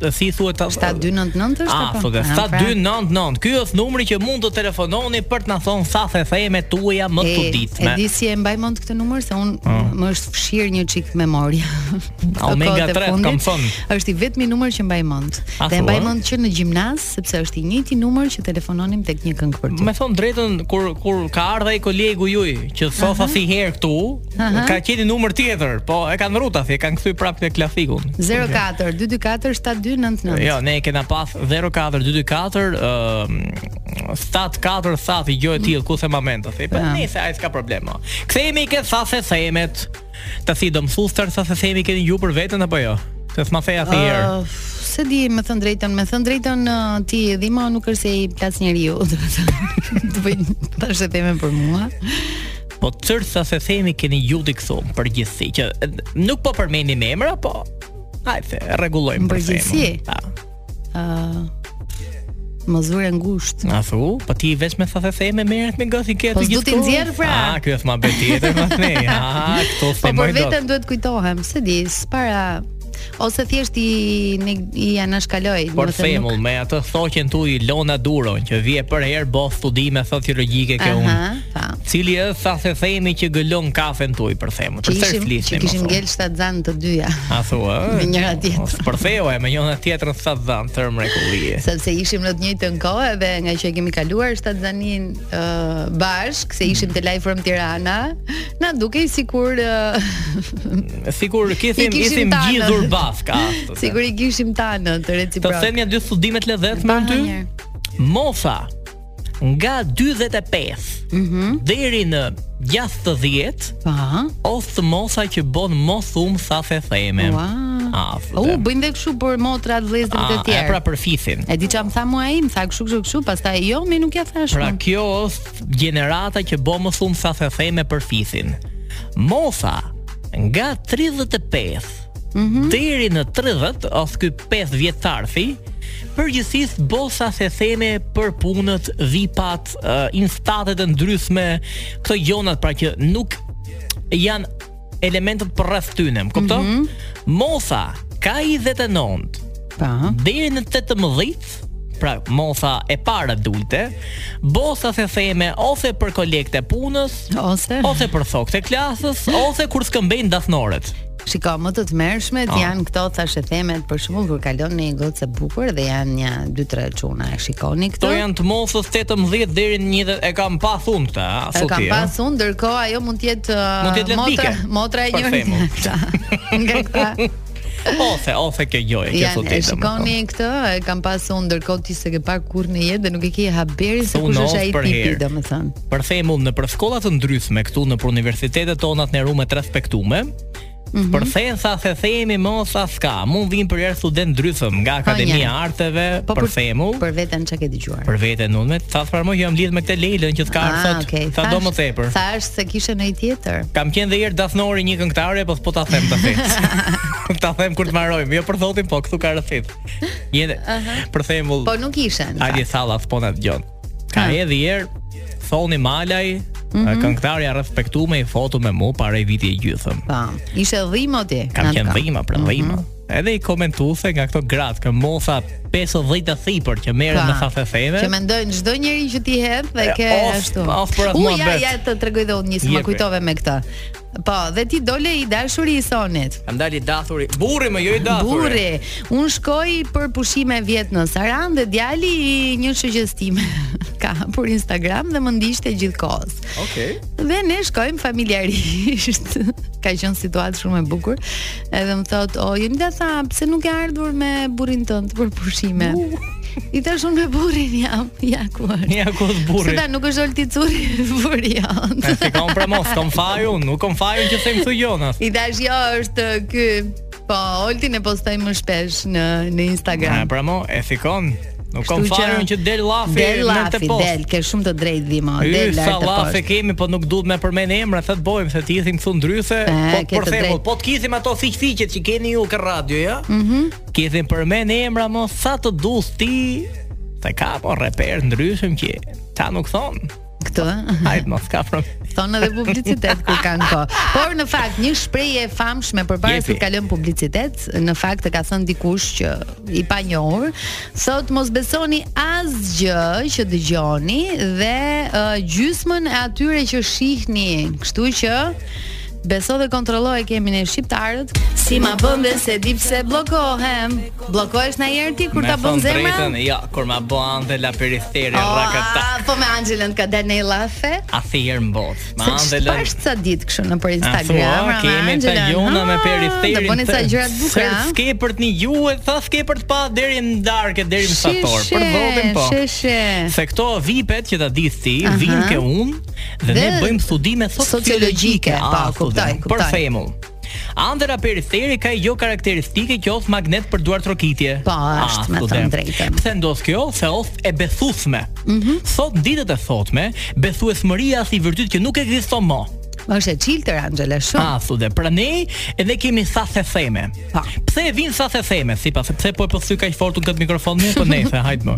[SPEAKER 8] ë, si thuhet ta-
[SPEAKER 7] 7299 është
[SPEAKER 8] Ah,
[SPEAKER 7] apo?
[SPEAKER 8] thotë
[SPEAKER 7] Ah, pra.
[SPEAKER 8] 7299. Ky është numri që mund të telefononi për të na thënë sa the themet tuaja më të
[SPEAKER 7] E,
[SPEAKER 8] ditme. Ah.
[SPEAKER 7] E di si e mbaj mend këtë numër se un më është fshir një çik memoria. Këto
[SPEAKER 8] Omega
[SPEAKER 7] kohët e
[SPEAKER 8] 3,
[SPEAKER 7] fundit,
[SPEAKER 8] kam thënë.
[SPEAKER 7] Është i vetmi numër që mbaj mend. Dhe
[SPEAKER 8] A,
[SPEAKER 7] e
[SPEAKER 8] thua?
[SPEAKER 7] mbaj mend që në gjimnaz sepse është i njëjti numër që telefononim tek një këngë për ty.
[SPEAKER 8] Me thon drejtën kur kur ka ardha i kolegu juj që thosa si herë këtu,
[SPEAKER 7] Aha.
[SPEAKER 8] ka qenë numër tjetër, po e kanë rruta si e kanë kthy prapë te klasikun.
[SPEAKER 7] 04 224 7299.
[SPEAKER 8] Jo, ne e kena pas 04224 ë 74 sa i gjoj ti ku se momento thej. Po
[SPEAKER 7] Ah.
[SPEAKER 8] nëse ai s'ka problem. o. Kthehemi ke sa se themet. Të si do mësuster sa se themi keni ju për veten apo jo? Se s'ma theja si herë.
[SPEAKER 7] Ëh, se di, me thënë drejtën, me thënë drejtën ëh, ti dhima nuk është se i plas njeriu, do të thënë. Do bëj tash e themën për mua.
[SPEAKER 8] Po tërë sa se themi keni ju di këtu në përgjithësi që e, nuk po përmendim emra, po hajde rregullojmë
[SPEAKER 7] Në
[SPEAKER 8] për themun.
[SPEAKER 7] përgjithësi?
[SPEAKER 8] Pa.
[SPEAKER 7] Mozur e ngushtë.
[SPEAKER 8] A thu? Po ti veç me sa the theme merret me gosi ke
[SPEAKER 7] Po
[SPEAKER 8] aty
[SPEAKER 7] s'du t'i
[SPEAKER 8] kohën?
[SPEAKER 7] nxjerr, pra.
[SPEAKER 8] Ah, ky është ma be tjetër më ne. Ah, këto
[SPEAKER 7] Po
[SPEAKER 8] s'e
[SPEAKER 7] për
[SPEAKER 8] moj dot.
[SPEAKER 7] veten duhet kujtohem, se di, s'para ose thjesht i neg- i anashkaloj,
[SPEAKER 8] Por
[SPEAKER 7] domethënë nuk-
[SPEAKER 8] themull me atë thoqen tu Ilona Duron që vije për herë bo studime sociologjike ke unë.
[SPEAKER 7] Aha, pa.
[SPEAKER 8] Cili është sa se themi që gëllon kafen tuaj për themën.
[SPEAKER 7] Që
[SPEAKER 8] Për çfarë
[SPEAKER 7] ishim, që
[SPEAKER 8] flisni?
[SPEAKER 7] kishim ngel shtat zanë të dyja.
[SPEAKER 8] A thua?
[SPEAKER 7] me njëra tjetrën.
[SPEAKER 8] Për e me njëra tjetrën sa dhën të mrekullie.
[SPEAKER 7] sepse ishim në të njëjtën kohë edhe nga që e kemi kaluar shtatzanin uh, bashk, se ishim te Live from Tirana, na dukej sikur uh,
[SPEAKER 8] Sigur
[SPEAKER 7] I
[SPEAKER 8] kishim
[SPEAKER 7] kishim
[SPEAKER 8] kishim
[SPEAKER 7] tanët.
[SPEAKER 8] gjithur bafk a.
[SPEAKER 7] sikur i kishim tanë të
[SPEAKER 8] Të
[SPEAKER 7] reciprok.
[SPEAKER 8] themi dy studimet lezetme
[SPEAKER 7] Pa,
[SPEAKER 8] aty.
[SPEAKER 7] njërë.
[SPEAKER 8] Mosa nga 45
[SPEAKER 7] Mhm.
[SPEAKER 8] deri në 60
[SPEAKER 7] Pa.
[SPEAKER 8] ose të mosa që bën mos um sa se theme.
[SPEAKER 7] Ua.
[SPEAKER 8] Ah,
[SPEAKER 7] U
[SPEAKER 8] them.
[SPEAKER 7] bëjmë dhe kështu për motrat vëllezërit
[SPEAKER 8] Ah,
[SPEAKER 7] e tjerë.
[SPEAKER 8] e pra për fisin.
[SPEAKER 7] E di çam tha mua ai, më tha kështu kështu kështu, pastaj jo, më nuk ja thash.
[SPEAKER 8] Pra
[SPEAKER 7] unë.
[SPEAKER 8] kjo është gjenerata që bë më thumë sa se theme për fisin. Mosa nga 35 deri në 30 ose ky 5 vjetarfi përgjithsisht bosa se theme për punët, vipat, uh, instatet e ndryshme, këto gjonat pra që nuk janë elementet për rreth tyne, më kupton? Mosa ka 29
[SPEAKER 7] pa.
[SPEAKER 8] deri në 18 pra motha e para adulte, bosa se theme ose për kolekte punës,
[SPEAKER 7] Ose
[SPEAKER 8] ose për thokët e klasës, ose kur skëmbejnë dasnoret.
[SPEAKER 7] Shiko, më të
[SPEAKER 8] Ah.
[SPEAKER 7] tmerrshmet janë këto thashë themet, për shembull kur kalon në një gocë e bukur dhe janë një 2-3 çuna, e shikoni
[SPEAKER 8] Këto
[SPEAKER 7] këto?
[SPEAKER 8] janë të mosës 18 deri në 20 e kam pa thunë këta, a
[SPEAKER 7] E
[SPEAKER 8] sot
[SPEAKER 7] kam
[SPEAKER 8] ti, a?
[SPEAKER 7] pas unë, ndërkohë ajo mund të jetë uh,
[SPEAKER 8] Mund t'jetë
[SPEAKER 7] motra,
[SPEAKER 8] lesbike,
[SPEAKER 7] motra e
[SPEAKER 8] për
[SPEAKER 7] njëri
[SPEAKER 8] shembull.
[SPEAKER 7] tjetër. Nga këta
[SPEAKER 8] Ose ose kjo gjojë, kjo
[SPEAKER 7] janë
[SPEAKER 8] sot
[SPEAKER 7] e
[SPEAKER 8] ti.
[SPEAKER 7] shikoni këtë, e kam pas unë ndërkohë ti se ke parë kur në jetë dhe nuk e ke haberin se
[SPEAKER 8] Thunë
[SPEAKER 7] kush
[SPEAKER 8] ose
[SPEAKER 7] është ai
[SPEAKER 8] për
[SPEAKER 7] tipi,
[SPEAKER 8] herë.
[SPEAKER 7] domethënë.
[SPEAKER 8] Për themull në për shkolla të ndryshme këtu në për universitetet tona të nderuara të respektume,
[SPEAKER 7] Mhm.
[SPEAKER 8] Për thesa se themi mos sa s'ka Mund vinë për erë student ndryshëm Nga Akademia e
[SPEAKER 7] njerë.
[SPEAKER 8] Arteve Për themull
[SPEAKER 7] Po për veten çka ke dëgjuar?
[SPEAKER 8] Për veten unë me sa farmo jam lidh me këtë Leilën që s'ka ardhur sot.
[SPEAKER 7] Ah, okay.
[SPEAKER 8] Sa do
[SPEAKER 7] Thash-
[SPEAKER 8] më tepër.
[SPEAKER 7] Thash se kishe në i tjetër.
[SPEAKER 8] Kam qenë dhe herë dasnori një këngëtare, po po ta them ta them. ta them kur të mbarojmë, jo për thotin, po këtu ka rëfit. Jene. Për thembull,
[SPEAKER 7] Po nuk ishen.
[SPEAKER 8] Ali Salla s'po na dëgjon. Ka
[SPEAKER 7] Ah.
[SPEAKER 8] edhe herë Thoni Malaj,
[SPEAKER 7] Mhm.
[SPEAKER 8] këngëtarja respektume i fotu me mu para i viti e gjysëm.
[SPEAKER 7] Po. Ishe dhimo ti.
[SPEAKER 8] Kam
[SPEAKER 7] Natka.
[SPEAKER 8] qenë dhima,
[SPEAKER 7] Mhm.
[SPEAKER 8] pra dhima. Edhe i komentuse nga këto gratë, kë mosa 50 të thipër që merren me
[SPEAKER 7] Pa.
[SPEAKER 8] sa theme.
[SPEAKER 7] Pra. Që mendojnë çdo njeri që ti hedh dhe
[SPEAKER 8] E,
[SPEAKER 7] ke
[SPEAKER 8] of-
[SPEAKER 7] ashtu.
[SPEAKER 8] of për atë
[SPEAKER 7] U, ja,
[SPEAKER 8] muhabet.
[SPEAKER 7] ja të tregoj dhe unë një se më
[SPEAKER 8] Jepi.
[SPEAKER 7] kujtove me këtë. Po, dhe ti dole i dashuri i sonit.
[SPEAKER 8] Kam dali dathuri. Burri më jo i dathuri.
[SPEAKER 7] Burri, unë shkoj për pushime vjet në Saran dhe djali i një shoqes time ka hapur Instagram dhe më ndiqte gjithkohës.
[SPEAKER 8] Okej.
[SPEAKER 7] Dhe ne shkojmë familjarisht. ka qenë situatë shumë e bukur. Edhe më thot, "O, Jonida tha, pse nuk e ardhur me burrin tënd për pushime?" I thash unë me burrin jam, ja ku është.
[SPEAKER 8] Ja ku është burri.
[SPEAKER 7] Se ta nuk është olti curi burri jont.
[SPEAKER 8] E, Si kam pramos, kam fajun, nuk kam fajun që them këtu Jonas.
[SPEAKER 7] I thash, "Jo, është ky." Po, Oltin e postoj më shpesh në në
[SPEAKER 8] E
[SPEAKER 7] Instagram.
[SPEAKER 8] pramo, e sikon. Nuk kam
[SPEAKER 7] Kështu që-
[SPEAKER 8] fajun që del lafi
[SPEAKER 7] Del
[SPEAKER 8] në të
[SPEAKER 7] lafi,
[SPEAKER 8] post.
[SPEAKER 7] del, ke shumë të drejtë dhima,
[SPEAKER 8] Ky
[SPEAKER 7] del
[SPEAKER 8] sa
[SPEAKER 7] lart të
[SPEAKER 8] lafe
[SPEAKER 7] poshtë.
[SPEAKER 8] kemi, po nuk duhet me përmend emra, sa të bojmë se ti i thim këtu ndryse,
[SPEAKER 7] E,
[SPEAKER 8] po
[SPEAKER 7] ke
[SPEAKER 8] për
[SPEAKER 7] të
[SPEAKER 8] thembull,
[SPEAKER 7] drejtë.
[SPEAKER 8] po të kisim ato fiqfiqet që keni ju kë radio, ja? Mhm. Kisim përmend emra mos sa të duhet ti. Të ka po reper ndryshëm që ta nuk thon.
[SPEAKER 7] Këtu ë?
[SPEAKER 8] Hajt mos ka problem.
[SPEAKER 7] Thonë edhe publicitet kur kanë kohë. Por në fakt një shprehje e famshme përpara se
[SPEAKER 8] Jepi.
[SPEAKER 7] të kalojmë publicitet, në fakt e ka thënë dikush që i panjohur, thot mos besoni asgjë që dëgjoni dhe uh, gjysmën e atyre që shihni. Kështu që Beso dhe kontrolloj kemi ne shqiptarët Si ma bën dhe se di pse bllokohem. Bllokohesh na herë ti kur
[SPEAKER 8] Me
[SPEAKER 7] ta bën
[SPEAKER 8] thonë
[SPEAKER 7] zemra?
[SPEAKER 8] drejtën, Ja, kur ma bën dhe la periferi
[SPEAKER 7] Oh,
[SPEAKER 8] rakata.
[SPEAKER 7] a, po me Angelën ka dalë në lafe.
[SPEAKER 8] A thirr mbot. Ma
[SPEAKER 7] Se
[SPEAKER 8] ande lën.
[SPEAKER 7] çfarë sa ditë kështu në për
[SPEAKER 8] A
[SPEAKER 7] Instagram,
[SPEAKER 8] Ah, thua,
[SPEAKER 7] ra, me
[SPEAKER 8] kemi të
[SPEAKER 7] Angela,
[SPEAKER 8] jona me
[SPEAKER 7] ha,
[SPEAKER 8] periferin.
[SPEAKER 7] Do bëni sa
[SPEAKER 8] të-
[SPEAKER 7] gjëra të bukura. ah?
[SPEAKER 8] Sër
[SPEAKER 7] ha?
[SPEAKER 8] Ske për të një ju e tha ske për të pa deri në darkë, deri në sator. Për
[SPEAKER 7] Sheshe,
[SPEAKER 8] zotin po.
[SPEAKER 7] Sheshe.
[SPEAKER 8] Se këto vipet që ta di ti,
[SPEAKER 7] Aha.
[SPEAKER 8] vinë ke unë dhe, ne
[SPEAKER 7] Dhe-
[SPEAKER 8] bëjmë studime sociologjike. Ah,
[SPEAKER 7] Sociologjike, pa, kuptoj,
[SPEAKER 8] studime.
[SPEAKER 7] kuptoj.
[SPEAKER 8] Për shembull, Andra periferi ka i jo karakteristike që ofë magnet për duar trokitje.
[SPEAKER 7] Po, është, me
[SPEAKER 8] student.
[SPEAKER 7] thënë drejtën. Mhm.
[SPEAKER 8] Pse ndos kjo? Se ofë e besuesme. Sot në ditët e sotme, besuesmëria si vërtyt që nuk ekziston më.
[SPEAKER 7] Është e çiltër Angela shumë.
[SPEAKER 8] Asu dhe pra ne edhe kemi sa se theme.
[SPEAKER 7] Pa.
[SPEAKER 8] Pse e vin sa se theme? Sipas pse po e përsy kaq fort unë këtë mikrofon më po nejse, hajt më.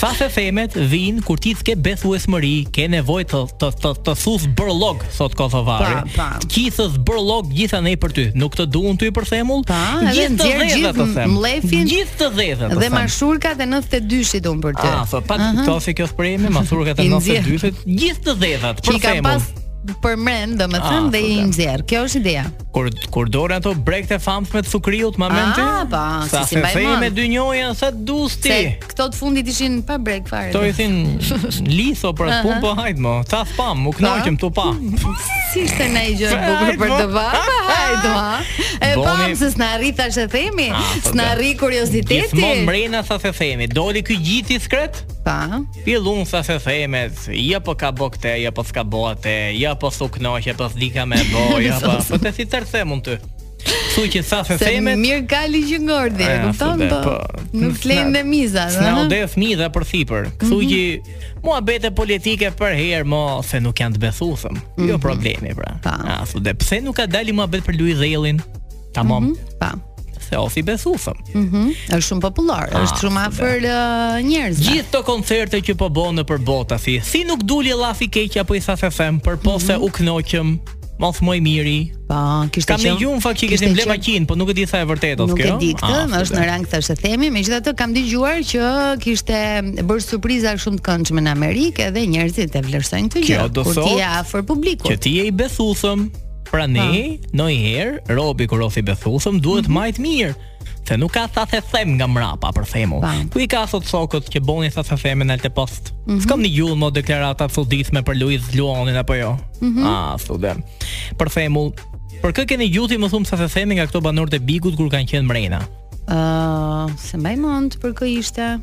[SPEAKER 8] Sa se themet vin kur ti s'ke besuesmëri, ke nevojë të të të, të thus bërllog sot kosovari.
[SPEAKER 7] Pa, pa.
[SPEAKER 8] Qithës bërllog gjithanej për ty. Nuk të duan ty për shembull.
[SPEAKER 7] Pa, edhe
[SPEAKER 8] të
[SPEAKER 7] nxjerr
[SPEAKER 8] dhëve
[SPEAKER 7] gjithë
[SPEAKER 8] të them.
[SPEAKER 7] mlefin.
[SPEAKER 8] Gjithë të dhëve
[SPEAKER 7] Dhe
[SPEAKER 8] të them.
[SPEAKER 7] mashurkat e 92-shit unë për ty.
[SPEAKER 8] Ah, so pa to se kjo spremi, masurkat e
[SPEAKER 7] I nxjerr.
[SPEAKER 8] 92-shit, gjithë të dhëvat,
[SPEAKER 7] Që
[SPEAKER 8] për
[SPEAKER 7] i ka
[SPEAKER 8] shembull.
[SPEAKER 7] pas për mend, domethënë,
[SPEAKER 8] Ah,
[SPEAKER 7] dhe i
[SPEAKER 8] super.
[SPEAKER 7] nxjerr. Kjo është ideja.
[SPEAKER 8] Kur kur dore ato brekt e famshme të sukriut, ma mend ti?
[SPEAKER 7] Ah, pa,
[SPEAKER 8] sa
[SPEAKER 7] si si
[SPEAKER 8] se
[SPEAKER 7] mbaj
[SPEAKER 8] thej
[SPEAKER 7] mend.
[SPEAKER 8] me dy njoja sa dus
[SPEAKER 7] Se
[SPEAKER 8] ti.
[SPEAKER 7] këto të fundit ishin pa break fare.
[SPEAKER 8] Kto i thin liso për atë punë, po hajt mo. Sa spam, u knaqem tu pa.
[SPEAKER 7] Si ishte na i gjë e bukur
[SPEAKER 8] Hajde,
[SPEAKER 7] për
[SPEAKER 8] mo.
[SPEAKER 7] të bërë? Hajde, ha. E
[SPEAKER 8] Boni-
[SPEAKER 7] pam se s'na arrit tash e themi.
[SPEAKER 8] Ah, po,
[SPEAKER 7] S'na
[SPEAKER 8] da.
[SPEAKER 7] arrit kurioziteti.
[SPEAKER 8] Gjithmonë mrena sa se themi, doli ky gjithë i skret?
[SPEAKER 7] Pa.
[SPEAKER 8] Pillun sa se themet, ja po ka bo këte, ja po s'ka bo atë, ja po su knoq, ja po s'dika me bo, ja po. Po te si tërë themun ty. Su që sa se
[SPEAKER 7] Se
[SPEAKER 8] themet,
[SPEAKER 7] mirë ka ligji ngordhi, e
[SPEAKER 8] E,
[SPEAKER 7] kupton
[SPEAKER 8] thude,
[SPEAKER 7] po.
[SPEAKER 8] po.
[SPEAKER 7] Nuk flejnë dhe miza,
[SPEAKER 8] S'na u
[SPEAKER 7] ëh.
[SPEAKER 8] dhe fëmijë dhe për sipër. Kështu
[SPEAKER 7] Mhm.
[SPEAKER 8] që mua bete politike për herë mo se nuk janë të besuesëm. Jo problemi pra.
[SPEAKER 7] Mhm. Pa.
[SPEAKER 8] A thu dhe pse nuk ka dali mua bet për Luiz Dhellin? Tamam.
[SPEAKER 7] Pa.
[SPEAKER 8] Se osi besuesëm.
[SPEAKER 7] Mhm. Është shumë popullor, është shumë
[SPEAKER 8] thude.
[SPEAKER 7] afër ë, njerëzve.
[SPEAKER 8] Ah, Gjithë të koncerte që po bën nëpër botë si, si nuk duli llafi keq apo i sa se them, për po se
[SPEAKER 7] Mhm.
[SPEAKER 8] u knoqëm, mos më i miri.
[SPEAKER 7] Po, kishte
[SPEAKER 8] Kam
[SPEAKER 7] qenë-
[SPEAKER 8] dëgjuar në fakt që
[SPEAKER 7] kishte
[SPEAKER 8] kishim ble
[SPEAKER 7] qenë-
[SPEAKER 8] makinë, po nuk e di sa e vërtetë
[SPEAKER 7] Nuk
[SPEAKER 8] kjo.
[SPEAKER 7] e di këtë,
[SPEAKER 8] Ah,
[SPEAKER 7] është
[SPEAKER 8] thude.
[SPEAKER 7] në rang tash e themi, megjithatë kam dëgjuar që kishte bërë surpriza shumë të këndshme në Amerikë dhe njerëzit e vlerësojnë këtë gjë.
[SPEAKER 8] Kjo do
[SPEAKER 7] kur ti
[SPEAKER 8] thotë
[SPEAKER 7] je afër
[SPEAKER 8] që
[SPEAKER 7] publikut.
[SPEAKER 8] ti je i besuesëm. Pra ne, ndonjëherë, robi kur osi besuesëm duhet majt mirë. Se nuk ka sa se them nga mrapa për themull.
[SPEAKER 7] Pam.
[SPEAKER 8] Ku i ka sot sokët që bonin sa se themen alte post. S'kam një gjullë më deklarata suditme për Luiz Luanin apo jo. Ah, sudem. Për themull, për kë keni gjuti më thumë sa se themi nga këto banorët e bigut kur kanë qenë mrena.
[SPEAKER 7] Ë, se mbaj mend për kë ishte.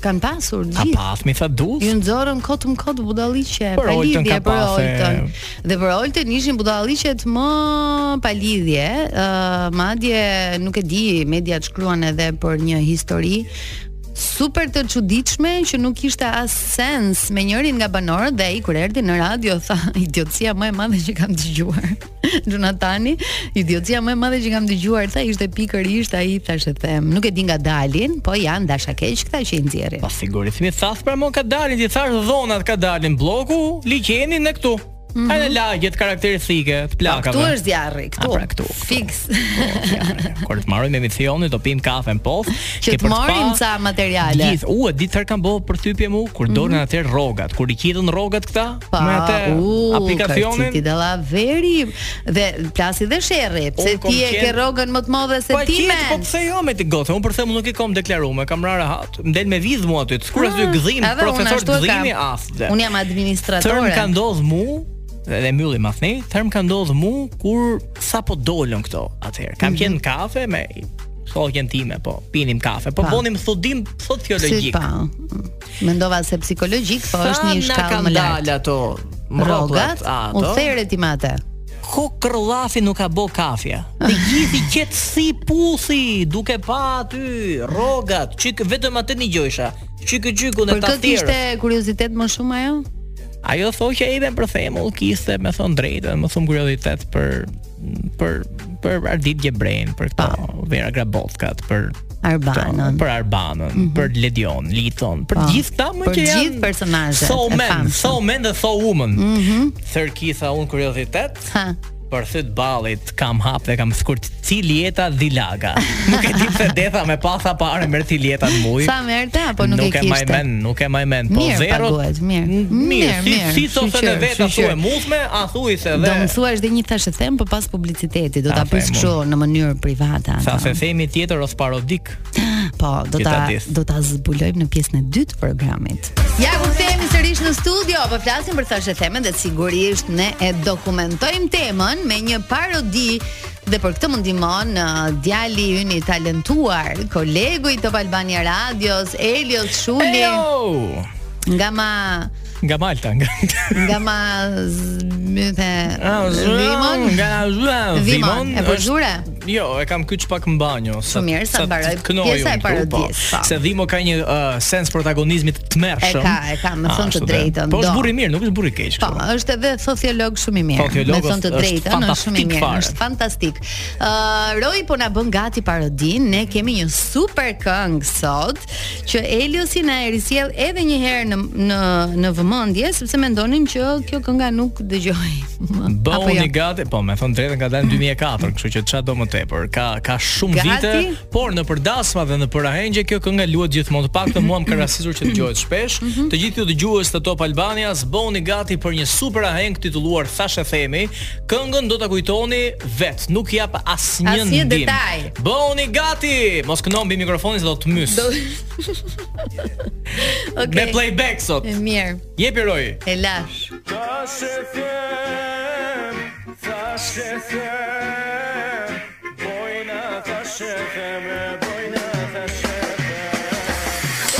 [SPEAKER 7] Kan pasur
[SPEAKER 8] A
[SPEAKER 7] gjithë.
[SPEAKER 8] pas, mi tha dus.
[SPEAKER 7] Ju nxorën kot më kot budalliqe,
[SPEAKER 8] Për
[SPEAKER 7] pa
[SPEAKER 8] Oltën
[SPEAKER 7] lidhje
[SPEAKER 8] ka
[SPEAKER 7] për
[SPEAKER 8] pas, e-
[SPEAKER 7] Oltën. Dhe për Oltën ishin budalliqet më pa lidhje, ë madje nuk e di, mediat shkruan edhe për një histori super të çuditshme që nuk ishte as sens me njërin nga banorët dhe ai kur erdhi në radio tha idiotësia më e madhe që kam dëgjuar. Jonatani, idiotësia më e madhe që kam dëgjuar tha ishte pikërisht ai thashë them. Nuk e di nga dalin, po janë dashakeq këta që i nxjerrin.
[SPEAKER 8] Pa sigurisht, mi thas pra mo ka dalin, ti thash dhonat ka dalin, bloku, liqeni në këtu. Mm -hmm. Ai në lagjet karakteristike të
[SPEAKER 7] Mhm.
[SPEAKER 8] plakave.
[SPEAKER 7] Po, Këtu është zjarri, këtu.
[SPEAKER 8] A, pra, këtu, këtu.
[SPEAKER 7] Fiks.
[SPEAKER 8] Kur të marrim emisionin, do pim kafe në post,
[SPEAKER 7] Që të marrim ca materiale. Mhm.
[SPEAKER 8] Gjithë, u e di çfarë kanë bërë për typje mu kur dorën atëherë rrogat, kur i qitën rrogat këta
[SPEAKER 7] Pa,
[SPEAKER 8] me atë
[SPEAKER 7] u,
[SPEAKER 8] aplikacionin.
[SPEAKER 7] Ti dalla veri dhe plasi dhe sherrri, pse
[SPEAKER 8] Unë kom
[SPEAKER 7] ti e
[SPEAKER 8] qenë-
[SPEAKER 7] ke rrogën më të madhe se
[SPEAKER 8] Po
[SPEAKER 7] ti
[SPEAKER 8] qit, po
[SPEAKER 7] men.
[SPEAKER 8] pse jo me të gotë? Unë për thembull nuk e kam deklaruar, me kam rarë hat. M'del me vizë mua aty. Skur asy
[SPEAKER 7] Ah,
[SPEAKER 8] gdhim,
[SPEAKER 7] edhe unë
[SPEAKER 8] profesor
[SPEAKER 7] ashtu e kam.
[SPEAKER 8] gdhimi as. dhe.
[SPEAKER 7] Unë jam
[SPEAKER 8] Tërm
[SPEAKER 7] administratore.
[SPEAKER 8] ka ndodh mu dhe mbyllim athne, tërm ka ndodh mu kur sapo dolën këto atëherë.
[SPEAKER 7] Mhm.
[SPEAKER 8] Kam qenë në kafe me shoqen time, po pinim kafe, po
[SPEAKER 7] Pa.
[SPEAKER 8] bonim studim
[SPEAKER 7] Si
[SPEAKER 8] sociologjik.
[SPEAKER 7] pa. Mendova se psikologjik, po
[SPEAKER 8] Sa
[SPEAKER 7] është një
[SPEAKER 8] na
[SPEAKER 7] shkallë
[SPEAKER 8] kanë
[SPEAKER 7] më lartë.
[SPEAKER 8] dalë ato
[SPEAKER 7] Rrogat,
[SPEAKER 8] mroplat, ato.
[SPEAKER 7] u therë ti mate.
[SPEAKER 8] Ko kërllafi nuk ka bo kafja. Të gjithë i qetë si pusi, duke pa aty rrogat, çik vetëm atë një gjojsha. Çik gjyku në
[SPEAKER 7] Për këtë
[SPEAKER 8] taftirë.
[SPEAKER 7] kishte kuriozitet më shumë ajo?
[SPEAKER 8] Ajo thonë që ime për themull kiste me thonë drejtën, më thumë kuriozitet për për për Ardit Gjebrein, për këto Vera Grabotkat, për
[SPEAKER 7] Arbanën.
[SPEAKER 8] për Arbanën, për Ledion, Liton, për
[SPEAKER 7] Po,
[SPEAKER 8] gjithë këta më
[SPEAKER 7] për
[SPEAKER 8] që janë
[SPEAKER 7] gjithë personazhet
[SPEAKER 8] So
[SPEAKER 7] e
[SPEAKER 8] men,
[SPEAKER 7] famshëm.
[SPEAKER 8] so men dhe so woman. Mhm. Sir Keitha un kuriozitet.
[SPEAKER 7] Ha.
[SPEAKER 8] Për syt ballit kam hap dhe kam skurt Cilieta Dilaga. Nuk e di pse detha me pasa parë merr Cilieta në muj.
[SPEAKER 7] Sa merrte apo Po nuk,
[SPEAKER 8] nuk
[SPEAKER 7] e
[SPEAKER 8] e maj
[SPEAKER 7] kishte?
[SPEAKER 8] men, nuk e maj men, po
[SPEAKER 7] Mirë
[SPEAKER 8] zero.
[SPEAKER 7] paguhet, mirë.
[SPEAKER 8] Mirë,
[SPEAKER 7] Mirë,
[SPEAKER 8] si
[SPEAKER 7] mirë,
[SPEAKER 8] si sot
[SPEAKER 7] shqyqyr,
[SPEAKER 8] edhe vetë ashtu
[SPEAKER 7] shqyqyr.
[SPEAKER 8] e muthme, a thuj se
[SPEAKER 7] Do
[SPEAKER 8] dhe
[SPEAKER 7] më thuash dhe një tash e them, po pas publicitetit do
[SPEAKER 8] Ta
[SPEAKER 7] ta pres
[SPEAKER 8] them
[SPEAKER 7] kështu në mënyrë private.
[SPEAKER 8] Sa
[SPEAKER 7] atë.
[SPEAKER 8] se themi tjetër os parodik.
[SPEAKER 7] Po, do ta
[SPEAKER 8] Kita dis.
[SPEAKER 7] do ta zbulojmë në pjesën e dytë të programit. Ja ku kthehemi sërish në studio, po flasim për thashë temën dhe sigurisht ne e dokumentojmë temën me një parodi dhe për këtë më ndihmon ë, djali ynë i talentuar, kolegu i Top Albania Radios, Elios Shuli,
[SPEAKER 8] Ejo!
[SPEAKER 7] nga ma
[SPEAKER 8] Nga Malta, nga
[SPEAKER 7] nga ma z- më the
[SPEAKER 8] Ah, zhua,
[SPEAKER 7] Vimon,
[SPEAKER 8] Nga zhua,
[SPEAKER 7] Vimon, e
[SPEAKER 8] është-
[SPEAKER 7] përzhure?
[SPEAKER 8] Jo, e kam kyç pak në banjo. Sa,
[SPEAKER 7] Shumë mirë, sa mbaroi
[SPEAKER 8] kënoj
[SPEAKER 7] pjesa
[SPEAKER 8] unë
[SPEAKER 7] e
[SPEAKER 8] këtu,
[SPEAKER 7] parodisë,
[SPEAKER 8] Po,
[SPEAKER 7] po.
[SPEAKER 8] se Dhimo ka një uh, sens protagonizmit të tmerrshëm.
[SPEAKER 7] E ka, e ka, me thënë të
[SPEAKER 8] Ashtu dhe.
[SPEAKER 7] drejtën,
[SPEAKER 8] Po
[SPEAKER 7] do.
[SPEAKER 8] është burri mirë, nuk është burri keq.
[SPEAKER 7] Po,
[SPEAKER 8] kështu.
[SPEAKER 7] është edhe sociolog shumë i mirë.
[SPEAKER 8] Sociolog
[SPEAKER 7] me thënë të
[SPEAKER 8] është- është
[SPEAKER 7] drejtën, është shumë i
[SPEAKER 8] fantastik
[SPEAKER 7] mirë,
[SPEAKER 8] fare.
[SPEAKER 7] është fantastik. Ë Roy po na bën gati parodin, ne kemi një super këngë sot që Eliosi na e risjell edhe një herë në në në vëmendje sepse mendonin që kjo kënga nuk dëgjoj. jo.
[SPEAKER 8] Bëu një gati, po me thënë drejtën ka dalë në 2004, kështu që çfarë do më tepër. Ka ka shumë
[SPEAKER 7] Gati?
[SPEAKER 8] vite, por në përdasma dhe në përahengje kjo kënga luhet gjithmonë. Të paktën mua më ka rastisur që dëgjohet shpesh.
[SPEAKER 7] Mhm.
[SPEAKER 8] Të gjithë ju dëgjues të Top Albanias, bëuni gati për një super aheng titulluar Thash e themi. Këngën do ta kujtoni vet, nuk jap asnjë
[SPEAKER 7] Asnjë
[SPEAKER 8] ndim.
[SPEAKER 7] detaj.
[SPEAKER 8] Bëuni gati. Mos kënon mbi mikrofonin se do të mys.
[SPEAKER 7] Do- Okay.
[SPEAKER 8] Me playback sot.
[SPEAKER 7] Mirë,
[SPEAKER 8] Jepi roj.
[SPEAKER 7] e lash.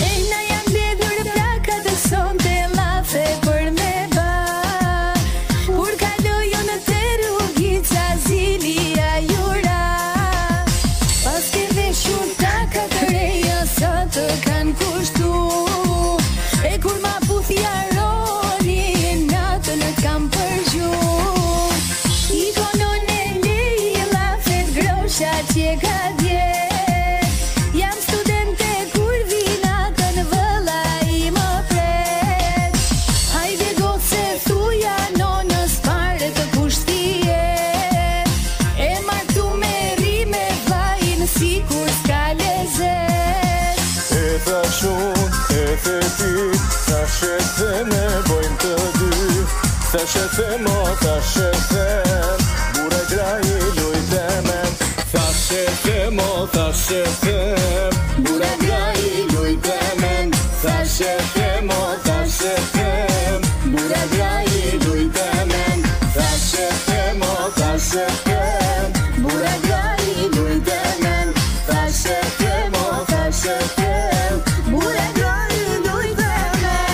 [SPEAKER 4] Ejna jam bledhur e praka të sonte lafe për me ba Kur kalojo në të rrugica zilia jura Pas ke dhe shumë taka të reja sa të kanë kushtu E kur ma puthja roni e natën e kam përgju I konon e lejë lafet grosha që ka dje Jam studente kur vinatën vëlla i më pret Hajde gocë thuja nonës pare të kushtie E martu me rime vajin si kur s'ka lezet
[SPEAKER 9] E ta shun, e te ti Ta shete ne bojmë të dy Ta shete mo, ta shete Bure graj i lujte men Ta shete mo, ta shete Bure graj i lujte men Ta shete mo, ta shete Bure graj i lujte men Ta shete mo, ta shete Bure graj i lujte men Ta shete mo, ta shete Bure graj i lujte men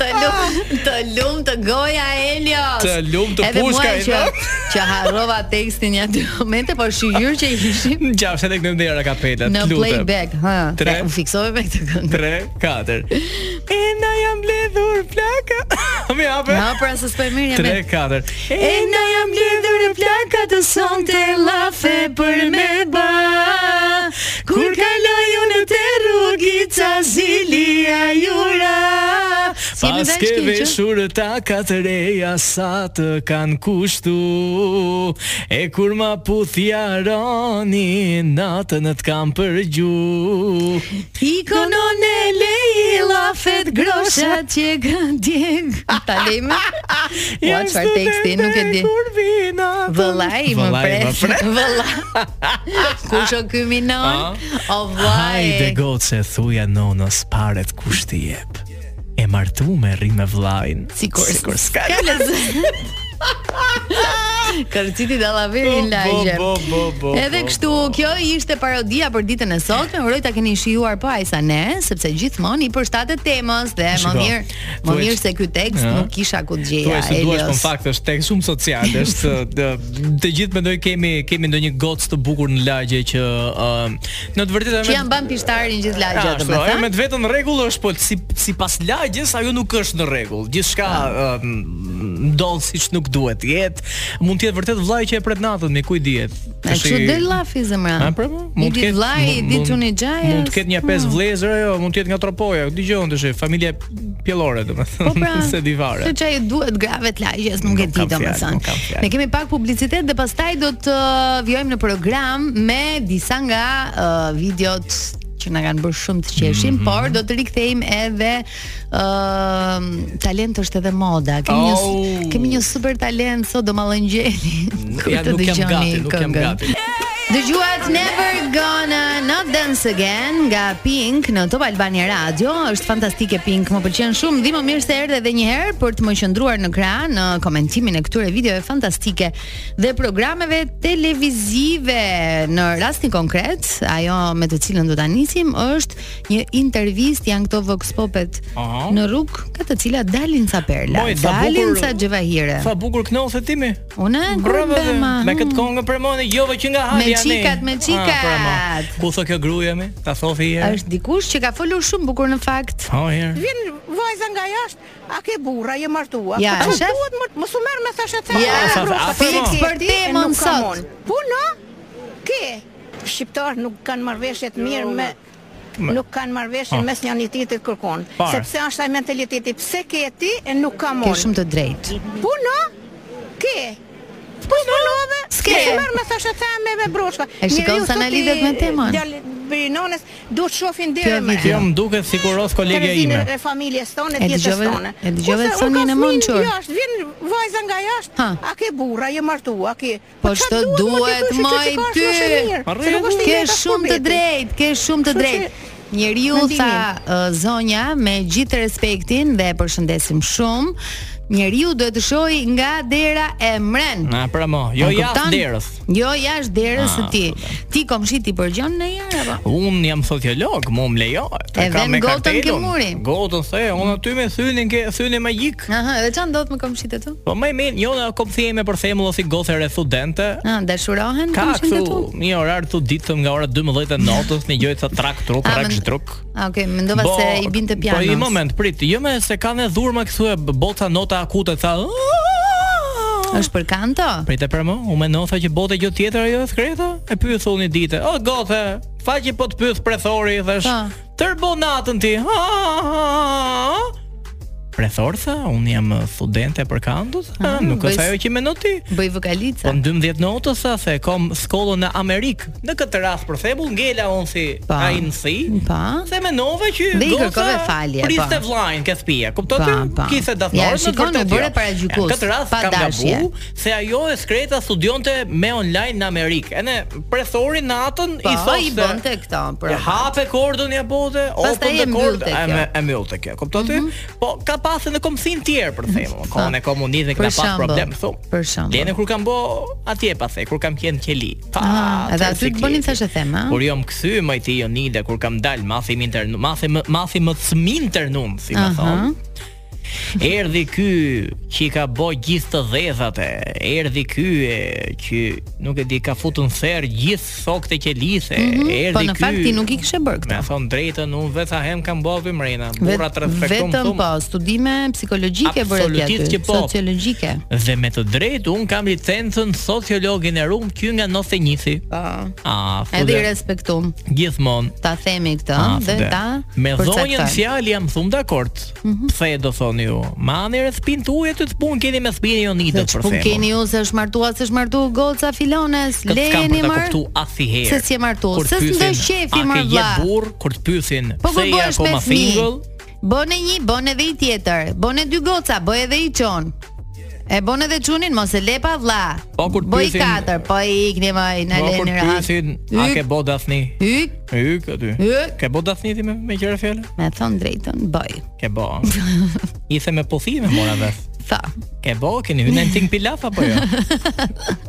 [SPEAKER 7] Të lum, të lum të goja Elios.
[SPEAKER 8] Të lumë të
[SPEAKER 7] Edhe
[SPEAKER 8] pushka,
[SPEAKER 7] mua që,
[SPEAKER 8] Elios.
[SPEAKER 7] që harrova tekstin ja dy momente, po shigjur që i kishim
[SPEAKER 8] Gjafshe tek në ndera kapelet.
[SPEAKER 7] në
[SPEAKER 8] lutem.
[SPEAKER 7] playback, ha.
[SPEAKER 8] Tre.
[SPEAKER 7] U fiksove me këtë këngë.
[SPEAKER 8] 3, 4 E na jam bledhur plaka Mi hape
[SPEAKER 7] Na pra se s'po e mirë
[SPEAKER 8] 3,
[SPEAKER 7] jam.
[SPEAKER 8] 4
[SPEAKER 7] E na jam lidhur në plaka të sonte lafe për me ba Kur kaloj unë te rrugica zilia jura S'jemi
[SPEAKER 8] Pas
[SPEAKER 7] dhe
[SPEAKER 8] ke
[SPEAKER 7] shkej, që?
[SPEAKER 8] veshur ta katë reja sa të kanë kushtu E kur ma puthja roni natën të kam përgju
[SPEAKER 7] Ikonon e lejë lafet groshat që gëndjek Ta lejmë Ua
[SPEAKER 8] Jam
[SPEAKER 7] çfarë teksti,
[SPEAKER 8] studente
[SPEAKER 7] nuk e di
[SPEAKER 8] kur vi natën.
[SPEAKER 7] Vëllai më
[SPEAKER 8] Vëllai
[SPEAKER 7] pres Vëlla Kush o ky minon? O
[SPEAKER 8] Ah. Hajde
[SPEAKER 7] vllai
[SPEAKER 8] goce thuja nonës paret kush të jep. E martu me rri me vllajin.
[SPEAKER 7] Sikur
[SPEAKER 8] sikur s'ka.
[SPEAKER 7] Ka lezet Kërciti dallaverin lagje.
[SPEAKER 8] Bo, bo, bo, bo,
[SPEAKER 7] Edhe
[SPEAKER 8] bo,
[SPEAKER 7] kështu,
[SPEAKER 8] bo.
[SPEAKER 7] kjo ishte parodia për ditën e sotme. Uroj ta keni shijuar po ajsa ne, sepse gjithmonë i përshtatet temës dhe më
[SPEAKER 8] Shiko,
[SPEAKER 7] mirë, më
[SPEAKER 8] thuaj-
[SPEAKER 7] mirë se ky tekst
[SPEAKER 8] Ëh.
[SPEAKER 7] nuk kisha ku të
[SPEAKER 8] Thuaj
[SPEAKER 7] gjeja.
[SPEAKER 8] se duash, po në
[SPEAKER 7] Elios.
[SPEAKER 8] fakt është tek shumë social, është dë- të gjithë mendoj kemi kemi ndonjë gocë të bukur në lagje që ë, në të vërtetë Ah,
[SPEAKER 7] Që janë ban pishtarin gjithë lagja,
[SPEAKER 8] Ashtu, ajo me
[SPEAKER 7] domethënë.
[SPEAKER 8] të vetën rregull është, po si sipas lagjes ajo nuk është në rregull. Gjithçka
[SPEAKER 7] Ah.
[SPEAKER 8] ë, m- ndodh siç nuk duhet të jetë. Mund të jetë vërtet vllai që e pret natën, me kujt dihet.
[SPEAKER 7] A
[SPEAKER 8] Tashi-
[SPEAKER 7] kështu del lafi zemra.
[SPEAKER 8] A po,
[SPEAKER 7] Ah. Një ditë vllai, një ditë çuni xhaja.
[SPEAKER 8] Mund të ketë një
[SPEAKER 7] Hmm.
[SPEAKER 8] pesë vëllezër ajo, mund të jetë nga Tropoja. Dëgjon tash, familje pjellore domethënë.
[SPEAKER 7] Po pra.
[SPEAKER 8] se di fare.
[SPEAKER 7] Se çaj duhet grave të lagjes, nuk e
[SPEAKER 8] Nuk
[SPEAKER 7] di
[SPEAKER 8] kam fjalë,
[SPEAKER 7] domethënë.
[SPEAKER 8] nuk kam fjalë.
[SPEAKER 7] Ne kemi pak publicitet dhe pastaj do të uh, vjojmë në program me disa nga uh, videot që na kanë bërë shumë të qeshim,
[SPEAKER 8] Mhm.
[SPEAKER 7] por do të rikthehim edhe ë talent është edhe moda. Kemi një
[SPEAKER 8] Au.
[SPEAKER 7] kemi një super talent sot do mallëngjeli. Kur
[SPEAKER 8] Ja
[SPEAKER 7] të
[SPEAKER 8] nuk jam
[SPEAKER 7] dëgjoni
[SPEAKER 8] gati, nuk jam
[SPEAKER 7] këngën.
[SPEAKER 8] gati.
[SPEAKER 7] Dëgjuat Never Gonna Not Dance Again nga Pink në Top Albania Radio. Është fantastike Pink, më pëlqen shumë. Dhe më mirë se erdhe edhe një herë për të më qëndruar në krah në komentimin e këtyre videove fantastike dhe programeve televizive. Në rastin konkret, ajo me të cilën do ta nisim është një intervistë janë këto Vox Popet
[SPEAKER 8] Aha.
[SPEAKER 7] në rrugë, ka të cilat dalin sa perla,
[SPEAKER 8] Moj, sa
[SPEAKER 7] dalin
[SPEAKER 8] bukur-
[SPEAKER 7] sa xhevahire.
[SPEAKER 8] Sa bukur knose timi.
[SPEAKER 7] Unë Ah, mm, kur
[SPEAKER 8] Bravo, dhe-
[SPEAKER 7] bëma. Hmm.
[SPEAKER 8] me këtë kongë për mone, jove që nga hali
[SPEAKER 7] Me
[SPEAKER 8] janë.
[SPEAKER 7] qikat, me
[SPEAKER 8] Ah,
[SPEAKER 7] qikat.
[SPEAKER 8] pra, ma. Ku tho kjo gruaja me? Ta thofi i herë.
[SPEAKER 7] është dikush që ka folur shumë bukur në fakt.
[SPEAKER 8] Po herë.
[SPEAKER 10] Vjen vajza nga jashtë, a ke burra, je martua.
[SPEAKER 7] Ja,
[SPEAKER 10] Po çu
[SPEAKER 7] shef?
[SPEAKER 10] duhet më mos u merr me thashë të.
[SPEAKER 7] Ja,
[SPEAKER 8] sa- a, po,
[SPEAKER 7] fix
[SPEAKER 8] mo.
[SPEAKER 7] për temën sot.
[SPEAKER 10] Po no. Ke shqiptar nuk kanë marrëveshje të mirë me
[SPEAKER 8] Me-
[SPEAKER 10] nuk kanë marrëveshje
[SPEAKER 8] Ah.
[SPEAKER 10] mes një anitetit kërkon.
[SPEAKER 8] Par.
[SPEAKER 10] Sepse është ai mentaliteti, pse ke e ti e nuk ka
[SPEAKER 7] Ke
[SPEAKER 10] mund.
[SPEAKER 7] shumë të drejtë.
[SPEAKER 10] Po no. Ke. Po punove.
[SPEAKER 7] S'ke.
[SPEAKER 10] S'ke marrë me thashë të me me broshka.
[SPEAKER 7] E shikon
[SPEAKER 10] Njeriu
[SPEAKER 7] sa na
[SPEAKER 10] sot i-
[SPEAKER 7] lidhet me temën.
[SPEAKER 10] djal- Brinones duhet shohin
[SPEAKER 7] Kjo
[SPEAKER 10] deri më.
[SPEAKER 7] video.
[SPEAKER 8] Kjo më duket sikur os kolegja
[SPEAKER 10] Televizion
[SPEAKER 8] ime.
[SPEAKER 10] e familjes tonë,
[SPEAKER 7] E
[SPEAKER 10] e jetës
[SPEAKER 7] dëgjove-
[SPEAKER 10] tonë.
[SPEAKER 7] e dëgjove
[SPEAKER 10] Ose,
[SPEAKER 7] Sonjën
[SPEAKER 10] "O, ka
[SPEAKER 7] e
[SPEAKER 10] fëmijë
[SPEAKER 7] Monçur?"
[SPEAKER 10] Jashtë vjen vajza nga jashtë.
[SPEAKER 7] Ha.
[SPEAKER 10] A ke burra, je martua, ke.
[SPEAKER 7] Po
[SPEAKER 10] çfarë
[SPEAKER 7] ç'do
[SPEAKER 10] duhet, mo,
[SPEAKER 7] duhet,
[SPEAKER 10] ti kush e që
[SPEAKER 7] moj,
[SPEAKER 10] ka
[SPEAKER 7] ty?
[SPEAKER 10] është shumë e mirë,
[SPEAKER 8] Arre,
[SPEAKER 10] se nuk është e
[SPEAKER 7] Ke
[SPEAKER 10] njëjta
[SPEAKER 7] shumë të
[SPEAKER 10] shkobeti.
[SPEAKER 7] drejtë, ke shumë të
[SPEAKER 10] Kështu që,
[SPEAKER 7] drejtë. Njeriu
[SPEAKER 10] mendimin.
[SPEAKER 7] tha ë, zonja me gjithë respektin dhe e përshëndesim shumë. Njeriu duhet të shohë nga dera e mren.
[SPEAKER 8] Na pra mo, jo
[SPEAKER 7] E
[SPEAKER 8] jashtë
[SPEAKER 7] kupton?
[SPEAKER 8] derës.
[SPEAKER 7] Jo jashtë derës së
[SPEAKER 8] Ah,
[SPEAKER 7] ti. Ti komshi ti përgjon në herë apo?
[SPEAKER 8] Un jam sociolog, mu më lejo. ta
[SPEAKER 7] E
[SPEAKER 8] kam
[SPEAKER 7] vem
[SPEAKER 8] me
[SPEAKER 7] gotën ke
[SPEAKER 8] kartelun.
[SPEAKER 7] muri.
[SPEAKER 8] Gotën se, unë aty me synin ke synin magjik.
[SPEAKER 7] Aha, dhe çfarë ndodh me komshit e tu?
[SPEAKER 8] Po më mirë, jo na kopthjeme për thembull si gocë e re studente.
[SPEAKER 7] Ah, dashurohen
[SPEAKER 8] Ka
[SPEAKER 7] komshit e tu?
[SPEAKER 8] këtu një orar të ditëm nga ora 12 e natës, një gjojë të trak truk,
[SPEAKER 7] A,
[SPEAKER 8] trak
[SPEAKER 7] mend-
[SPEAKER 8] shtruk.
[SPEAKER 7] Ah, okay, mendova se i binte pianos.
[SPEAKER 8] Po një moment, prit, jo me se kanë dhurma këtu e bota nota akute tha.
[SPEAKER 7] Është për kanto?
[SPEAKER 8] Prit e për më, u mendova që bota gjë tjetër ajo e skreta? E pyet thonë një ditë. O gothe, faqi po të pyet prethori, thash.
[SPEAKER 7] Po.
[SPEAKER 8] Tërbo natën ti. Ha, ha, ha. Prethor tha, unë jam eh, studente për kantut,
[SPEAKER 7] Ah,
[SPEAKER 8] ha, nuk është
[SPEAKER 7] bëj-
[SPEAKER 8] ajo që mendon ti.
[SPEAKER 7] Bëj vokalica.
[SPEAKER 8] Po në 12 notës sa se kam shkollën në Amerikë. Në këtë rast për shembull ngela unë si
[SPEAKER 7] Pa.
[SPEAKER 8] ANC.
[SPEAKER 7] Pa.
[SPEAKER 8] Se mendova që
[SPEAKER 7] Dhe i kërkove falje,
[SPEAKER 8] Priste
[SPEAKER 7] pa.
[SPEAKER 8] vllajin ke shtëpia. Kupton
[SPEAKER 7] Pa,
[SPEAKER 8] ti?
[SPEAKER 7] pa.
[SPEAKER 8] Kise dafnor.
[SPEAKER 7] Ja, shikon, u bëre paragjykus,
[SPEAKER 8] Në këtë rast
[SPEAKER 7] pa
[SPEAKER 8] kam
[SPEAKER 7] dashje.
[SPEAKER 8] gabu se ajo e skreta studionte me online në Amerikë. Ene prethori natën
[SPEAKER 7] Po,
[SPEAKER 8] i thoshte
[SPEAKER 7] i bënte këto, pra.
[SPEAKER 8] E hape kordon ja bote,
[SPEAKER 7] Pastaj
[SPEAKER 8] open the
[SPEAKER 7] e
[SPEAKER 8] cord,
[SPEAKER 7] mbyllte
[SPEAKER 8] e
[SPEAKER 7] kjo. Mhm.
[SPEAKER 8] me- e mbyllte kjo. Kupton ti? Po ka pasur në komsin tjerë për themën. Kohën e
[SPEAKER 7] Për
[SPEAKER 8] komunizmit ka pas
[SPEAKER 7] shembull,
[SPEAKER 8] problem thon.
[SPEAKER 7] për shembull.
[SPEAKER 8] Lene kur kam bë atje pastaj, kur kam qenë qeli. Pa.
[SPEAKER 7] Ah, edhe aty të
[SPEAKER 8] tërsikleti.
[SPEAKER 7] bënin thashë thema.
[SPEAKER 8] Kur jom kthy më ti Jonida kur kam dal mathi më intern, mathi më mathi më cmin ternum, si më thon. Erdhi ky që i ka bë gjithë të dhëzat e. Erdhi ky e që nuk e di ka futun therr gjithë sokët e qelise. Erdhi
[SPEAKER 7] Po në
[SPEAKER 8] ky-
[SPEAKER 7] fakt ti nuk i kishe bërë
[SPEAKER 8] Me
[SPEAKER 7] këtë.
[SPEAKER 8] thon drejtën, unë vetë sa hem kam bërë mrena. Burra të respektum
[SPEAKER 7] vetëm
[SPEAKER 8] thum.
[SPEAKER 7] po, studime psikologjike bëre ti
[SPEAKER 8] Absolutisht
[SPEAKER 7] aty,
[SPEAKER 8] që po.
[SPEAKER 7] sociologjike.
[SPEAKER 8] Dhe me të drejtë unë kam licencën sociologin e rum që nga 91-si.
[SPEAKER 7] Po.
[SPEAKER 8] Ah,
[SPEAKER 7] Edhe i
[SPEAKER 8] fude.
[SPEAKER 7] respektum.
[SPEAKER 8] Gjithmonë.
[SPEAKER 7] Ta themi këtë,
[SPEAKER 8] Ah,
[SPEAKER 7] dhe
[SPEAKER 8] fude.
[SPEAKER 7] ta Mhm.
[SPEAKER 8] Me dhonjën
[SPEAKER 7] përcaktojmë.
[SPEAKER 8] fjalë jam thum dakord. Pse do thoni ju? Ma ani rrethpin tuaj aty të pun keni me spinë
[SPEAKER 7] Dhe
[SPEAKER 8] jonitët për
[SPEAKER 7] çpun
[SPEAKER 8] shembull.
[SPEAKER 7] keni jo- ju se është martuar, se është martu goca filones,
[SPEAKER 8] Këtë s'kam
[SPEAKER 7] lejeni
[SPEAKER 8] për ta
[SPEAKER 7] mër.
[SPEAKER 8] kuptu asnjëherë.
[SPEAKER 7] Se si e martu,
[SPEAKER 8] Kur të
[SPEAKER 7] se s'ndoj
[SPEAKER 8] pyesin,
[SPEAKER 7] qefi,
[SPEAKER 8] "A
[SPEAKER 7] mër,
[SPEAKER 8] ke
[SPEAKER 7] vlla?"
[SPEAKER 8] je burr?" Kur të pyesin,
[SPEAKER 7] Po kur
[SPEAKER 8] "Pse je
[SPEAKER 7] bëhesh me
[SPEAKER 8] akoma
[SPEAKER 7] fëmijë,
[SPEAKER 8] single?"
[SPEAKER 7] bën e një, bën edhe i tjetër, bën e dy goca, bëj edhe i çon. E bën edhe çunin mos e le pa vlla.
[SPEAKER 8] Po, kur të
[SPEAKER 7] bëj
[SPEAKER 8] pyesin-
[SPEAKER 7] katër, po i ikni më na
[SPEAKER 8] Po kur
[SPEAKER 7] leni
[SPEAKER 8] të
[SPEAKER 7] rahat.
[SPEAKER 8] pyesin, "A ke bë dafni?"
[SPEAKER 7] Yk,
[SPEAKER 8] Yk aty.
[SPEAKER 7] Yk.
[SPEAKER 8] Ke bë dafni ti me me qëra fjalë?
[SPEAKER 7] me thon drejtën, bëj.
[SPEAKER 8] Ke bë. a? I the me pothime mora vesh.
[SPEAKER 7] Tha.
[SPEAKER 8] Ke bë, keni hyrë në ting pilaf apo jo?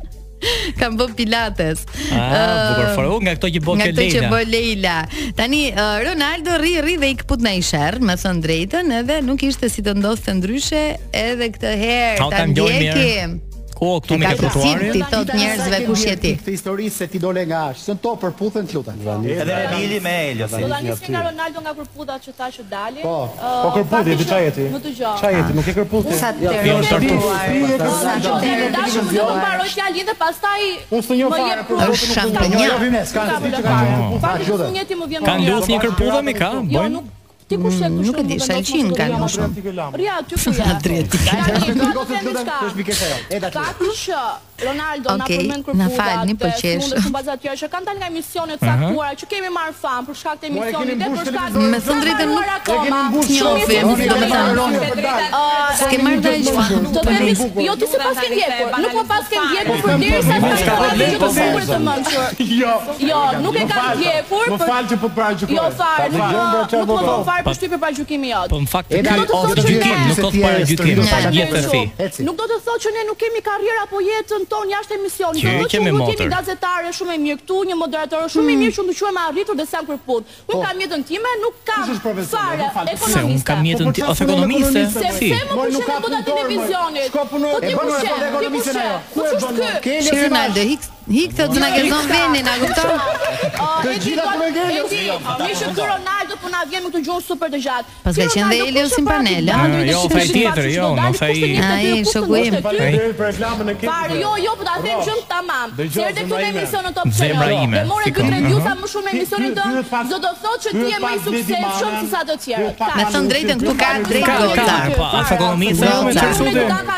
[SPEAKER 7] Kam bë pilates.
[SPEAKER 8] Ah, bukur fare. U, Nga këto që bë
[SPEAKER 7] Nga
[SPEAKER 8] ke
[SPEAKER 7] këtë që
[SPEAKER 8] Leila.
[SPEAKER 7] bë Leila. Tani ë, Ronaldo rri rri dhe i kput në i sherr, me thën drejtën, edhe nuk ishte si të ndodhte ndryshe edhe këtë herë.
[SPEAKER 8] Ta u ta ngjoj mirë. O, këtu me ke trotuarin.
[SPEAKER 7] ti thot njerëzve kush je ti.
[SPEAKER 11] Këtë histori se ti dole nga ashtë, se në to përputhen të lutem.
[SPEAKER 12] Edhe Lili me Eliosin.
[SPEAKER 13] Valla nisi nga Ronaldo nga kërpudha që tha që dali.
[SPEAKER 11] Po,
[SPEAKER 13] Ë,
[SPEAKER 11] po kërputi,
[SPEAKER 13] fakti
[SPEAKER 11] di
[SPEAKER 13] që-
[SPEAKER 11] qa jeti?
[SPEAKER 13] Më dëgjoj.
[SPEAKER 11] Qa jeti, nuk e kërputi.
[SPEAKER 13] Sa të
[SPEAKER 11] Ja,
[SPEAKER 13] rëndë.
[SPEAKER 11] ti- ti e
[SPEAKER 13] Sa
[SPEAKER 11] kërputi.
[SPEAKER 13] të
[SPEAKER 11] ti e
[SPEAKER 13] rëndë. Dashur
[SPEAKER 11] kërputi.
[SPEAKER 13] më unë mbaroj fjalin dhe pastaj
[SPEAKER 11] Unë s'të njoh
[SPEAKER 13] më
[SPEAKER 11] fare,
[SPEAKER 13] jep
[SPEAKER 11] për
[SPEAKER 13] prua.
[SPEAKER 11] Është Nuk s'të njoh, shampanjak. jo, s'ka
[SPEAKER 13] Ka
[SPEAKER 11] asnjë që
[SPEAKER 13] vëllë
[SPEAKER 11] ka
[SPEAKER 13] fare.
[SPEAKER 11] njohur.
[SPEAKER 13] Fakti
[SPEAKER 11] Gjute.
[SPEAKER 13] që njëti më vjen.
[SPEAKER 11] Kanë
[SPEAKER 13] më
[SPEAKER 11] lutje një kërpudhe, mi ka,
[SPEAKER 13] Jo,
[SPEAKER 11] bojnë?
[SPEAKER 13] nuk Ti kush je kush?
[SPEAKER 7] nuk e di, Shalqin ka lëshuar.
[SPEAKER 13] Ria, ty ku je?
[SPEAKER 7] Adrieti.
[SPEAKER 13] Tani,
[SPEAKER 11] Të
[SPEAKER 13] do
[SPEAKER 11] rregosë
[SPEAKER 13] të them
[SPEAKER 11] të lutem,
[SPEAKER 13] diçka.
[SPEAKER 11] të është pikesha jo. E datë.
[SPEAKER 13] Fakti që Ronaldo na
[SPEAKER 7] Okej,
[SPEAKER 13] përmend
[SPEAKER 7] na
[SPEAKER 13] kërpuda.
[SPEAKER 7] falni, po qesh.
[SPEAKER 13] Mund të shumë baza të tjera që kanë dalë nga emisione të
[SPEAKER 7] Aha.
[SPEAKER 13] caktuara, që kemi marr fam për shkak të
[SPEAKER 11] Moj, e keni
[SPEAKER 13] emisionit dhe
[SPEAKER 11] mbush
[SPEAKER 13] për shkak të
[SPEAKER 11] televizorin. Me thënë
[SPEAKER 7] drejtën, nuk-
[SPEAKER 13] caktuara
[SPEAKER 11] E
[SPEAKER 13] koma.
[SPEAKER 11] keni mbush
[SPEAKER 7] Njofi,
[SPEAKER 11] shofin,
[SPEAKER 7] do të thonë.
[SPEAKER 13] Ë,
[SPEAKER 7] S'ke marrë dhe aq fund.
[SPEAKER 13] Do të themi, jo ti se pas ke ndjekur, nuk po pas ke ndjekur përderisa
[SPEAKER 11] Po,
[SPEAKER 13] sa
[SPEAKER 11] s'ka
[SPEAKER 13] ka
[SPEAKER 11] problem,
[SPEAKER 13] ndjekur të
[SPEAKER 11] po,
[SPEAKER 13] sigurt të
[SPEAKER 11] s'ka.
[SPEAKER 13] mençur.
[SPEAKER 11] Jo.
[SPEAKER 13] Jo, nuk e
[SPEAKER 11] Më
[SPEAKER 13] ka
[SPEAKER 11] fal,
[SPEAKER 13] ndjekur.
[SPEAKER 11] Më
[SPEAKER 13] për-
[SPEAKER 11] falë që po të parë gjukoj.
[SPEAKER 13] Jo fare,
[SPEAKER 11] Ta
[SPEAKER 13] nuk
[SPEAKER 11] dëgjojmë,
[SPEAKER 13] më-
[SPEAKER 11] bro, qa
[SPEAKER 13] nuk më
[SPEAKER 11] po
[SPEAKER 13] do
[SPEAKER 11] bën.
[SPEAKER 13] fare përshtypje para gjykimi jot.
[SPEAKER 8] Po në fakt
[SPEAKER 11] Edhe
[SPEAKER 13] nuk do të
[SPEAKER 8] o,
[SPEAKER 13] thotë që
[SPEAKER 8] gjykim,
[SPEAKER 13] ne-
[SPEAKER 8] nuk
[SPEAKER 11] se
[SPEAKER 8] ka
[SPEAKER 11] ti
[SPEAKER 8] para
[SPEAKER 11] je
[SPEAKER 8] gjykim,
[SPEAKER 11] stërvitur
[SPEAKER 8] para
[SPEAKER 11] pa
[SPEAKER 8] jetën
[SPEAKER 11] gjukë.
[SPEAKER 8] si.
[SPEAKER 11] Eci.
[SPEAKER 13] Nuk do të thotë që ne nuk kemi karrierë apo jetën tonë jashtë emisionit.
[SPEAKER 8] Që
[SPEAKER 13] Do të thotë
[SPEAKER 8] kemi
[SPEAKER 13] që unë kemi
[SPEAKER 8] motor.
[SPEAKER 13] gazetare shumë e mirë këtu, një moderator
[SPEAKER 11] Hmm.
[SPEAKER 13] shumë i mirë që unë quhem arritur dhe sam kërput. Unë kam jetën time, nuk kam
[SPEAKER 11] Po. Kush është profesor?
[SPEAKER 13] fare
[SPEAKER 11] Më fal. Se
[SPEAKER 8] Se unë
[SPEAKER 13] ekonomiste.
[SPEAKER 8] kam jetën ti, ose
[SPEAKER 11] Po, po, çfarë
[SPEAKER 8] ekonomiste,
[SPEAKER 11] punon ekonomiste?
[SPEAKER 13] Se
[SPEAKER 8] si.
[SPEAKER 13] pse më
[SPEAKER 11] Moj, nuk
[SPEAKER 13] pushen
[SPEAKER 11] ka
[SPEAKER 13] në boda
[SPEAKER 11] punëtor, moj.
[SPEAKER 13] televizionit?
[SPEAKER 11] Shko punoj-
[SPEAKER 13] Po
[SPEAKER 11] e
[SPEAKER 13] ti
[SPEAKER 11] punoj,
[SPEAKER 13] pushe,
[SPEAKER 11] po dhe
[SPEAKER 13] ti
[SPEAKER 11] ekonomiste na
[SPEAKER 13] pushe.
[SPEAKER 11] jo. Ku
[SPEAKER 13] Ku
[SPEAKER 11] e
[SPEAKER 13] është
[SPEAKER 11] bën
[SPEAKER 13] ky?
[SPEAKER 11] mo? Ke
[SPEAKER 7] Shi Ronaldo, hik hik thot na gëzon venin, a kupton?
[SPEAKER 13] Ë,
[SPEAKER 11] Të
[SPEAKER 13] e di
[SPEAKER 11] gjitha
[SPEAKER 13] do-
[SPEAKER 11] të me ngeli,
[SPEAKER 13] e
[SPEAKER 11] ose
[SPEAKER 13] di,
[SPEAKER 11] jo?
[SPEAKER 13] Me që ky Ronaldo po na vjen me këtë gjuhë super të gjatë.
[SPEAKER 7] Pas
[SPEAKER 13] Ky
[SPEAKER 7] ka qenë dhe
[SPEAKER 13] Ronaldo
[SPEAKER 7] Eliosi
[SPEAKER 13] kushe
[SPEAKER 7] në
[SPEAKER 13] pa ti
[SPEAKER 7] panel,
[SPEAKER 13] bandri,
[SPEAKER 7] a?
[SPEAKER 8] Ah,
[SPEAKER 13] kushe
[SPEAKER 8] jo,
[SPEAKER 13] pa ti
[SPEAKER 8] thaj
[SPEAKER 13] bandri,
[SPEAKER 8] tjetër,
[SPEAKER 13] kushe
[SPEAKER 8] jo,
[SPEAKER 13] pa ti
[SPEAKER 8] mos ai-
[SPEAKER 13] bandri, kushe njëtë
[SPEAKER 7] Ai,
[SPEAKER 13] dy, kushe
[SPEAKER 7] shoku im.
[SPEAKER 13] ndoshta ty.
[SPEAKER 11] Faleminderit për reklamën e kemi.
[SPEAKER 13] Fare, jo, jo, po ta them gjën tamam.
[SPEAKER 11] Dëgjoj,
[SPEAKER 13] Se
[SPEAKER 11] zemra
[SPEAKER 13] edhe këtu në
[SPEAKER 11] ime.
[SPEAKER 13] emision në Top
[SPEAKER 8] Zemra
[SPEAKER 13] Channel.
[SPEAKER 8] ime, Mhm.
[SPEAKER 13] Dhe more
[SPEAKER 8] fikon.
[SPEAKER 13] dy revjusa më shumë në
[SPEAKER 11] Ky-
[SPEAKER 13] emisionin
[SPEAKER 11] ky-
[SPEAKER 13] tonë,
[SPEAKER 11] ky pak-
[SPEAKER 13] do të thotë që
[SPEAKER 11] ky
[SPEAKER 13] ti je
[SPEAKER 11] pak
[SPEAKER 13] më i
[SPEAKER 11] Lady
[SPEAKER 13] suksesshëm
[SPEAKER 11] Mamen,
[SPEAKER 13] se sa të
[SPEAKER 11] ky pak-
[SPEAKER 13] tjerët.
[SPEAKER 7] Me thënë drejtën këtu ka drejt
[SPEAKER 8] Ka, ka,
[SPEAKER 7] gota.
[SPEAKER 8] po, as ekonomiste,
[SPEAKER 7] Goca.
[SPEAKER 8] me çfarë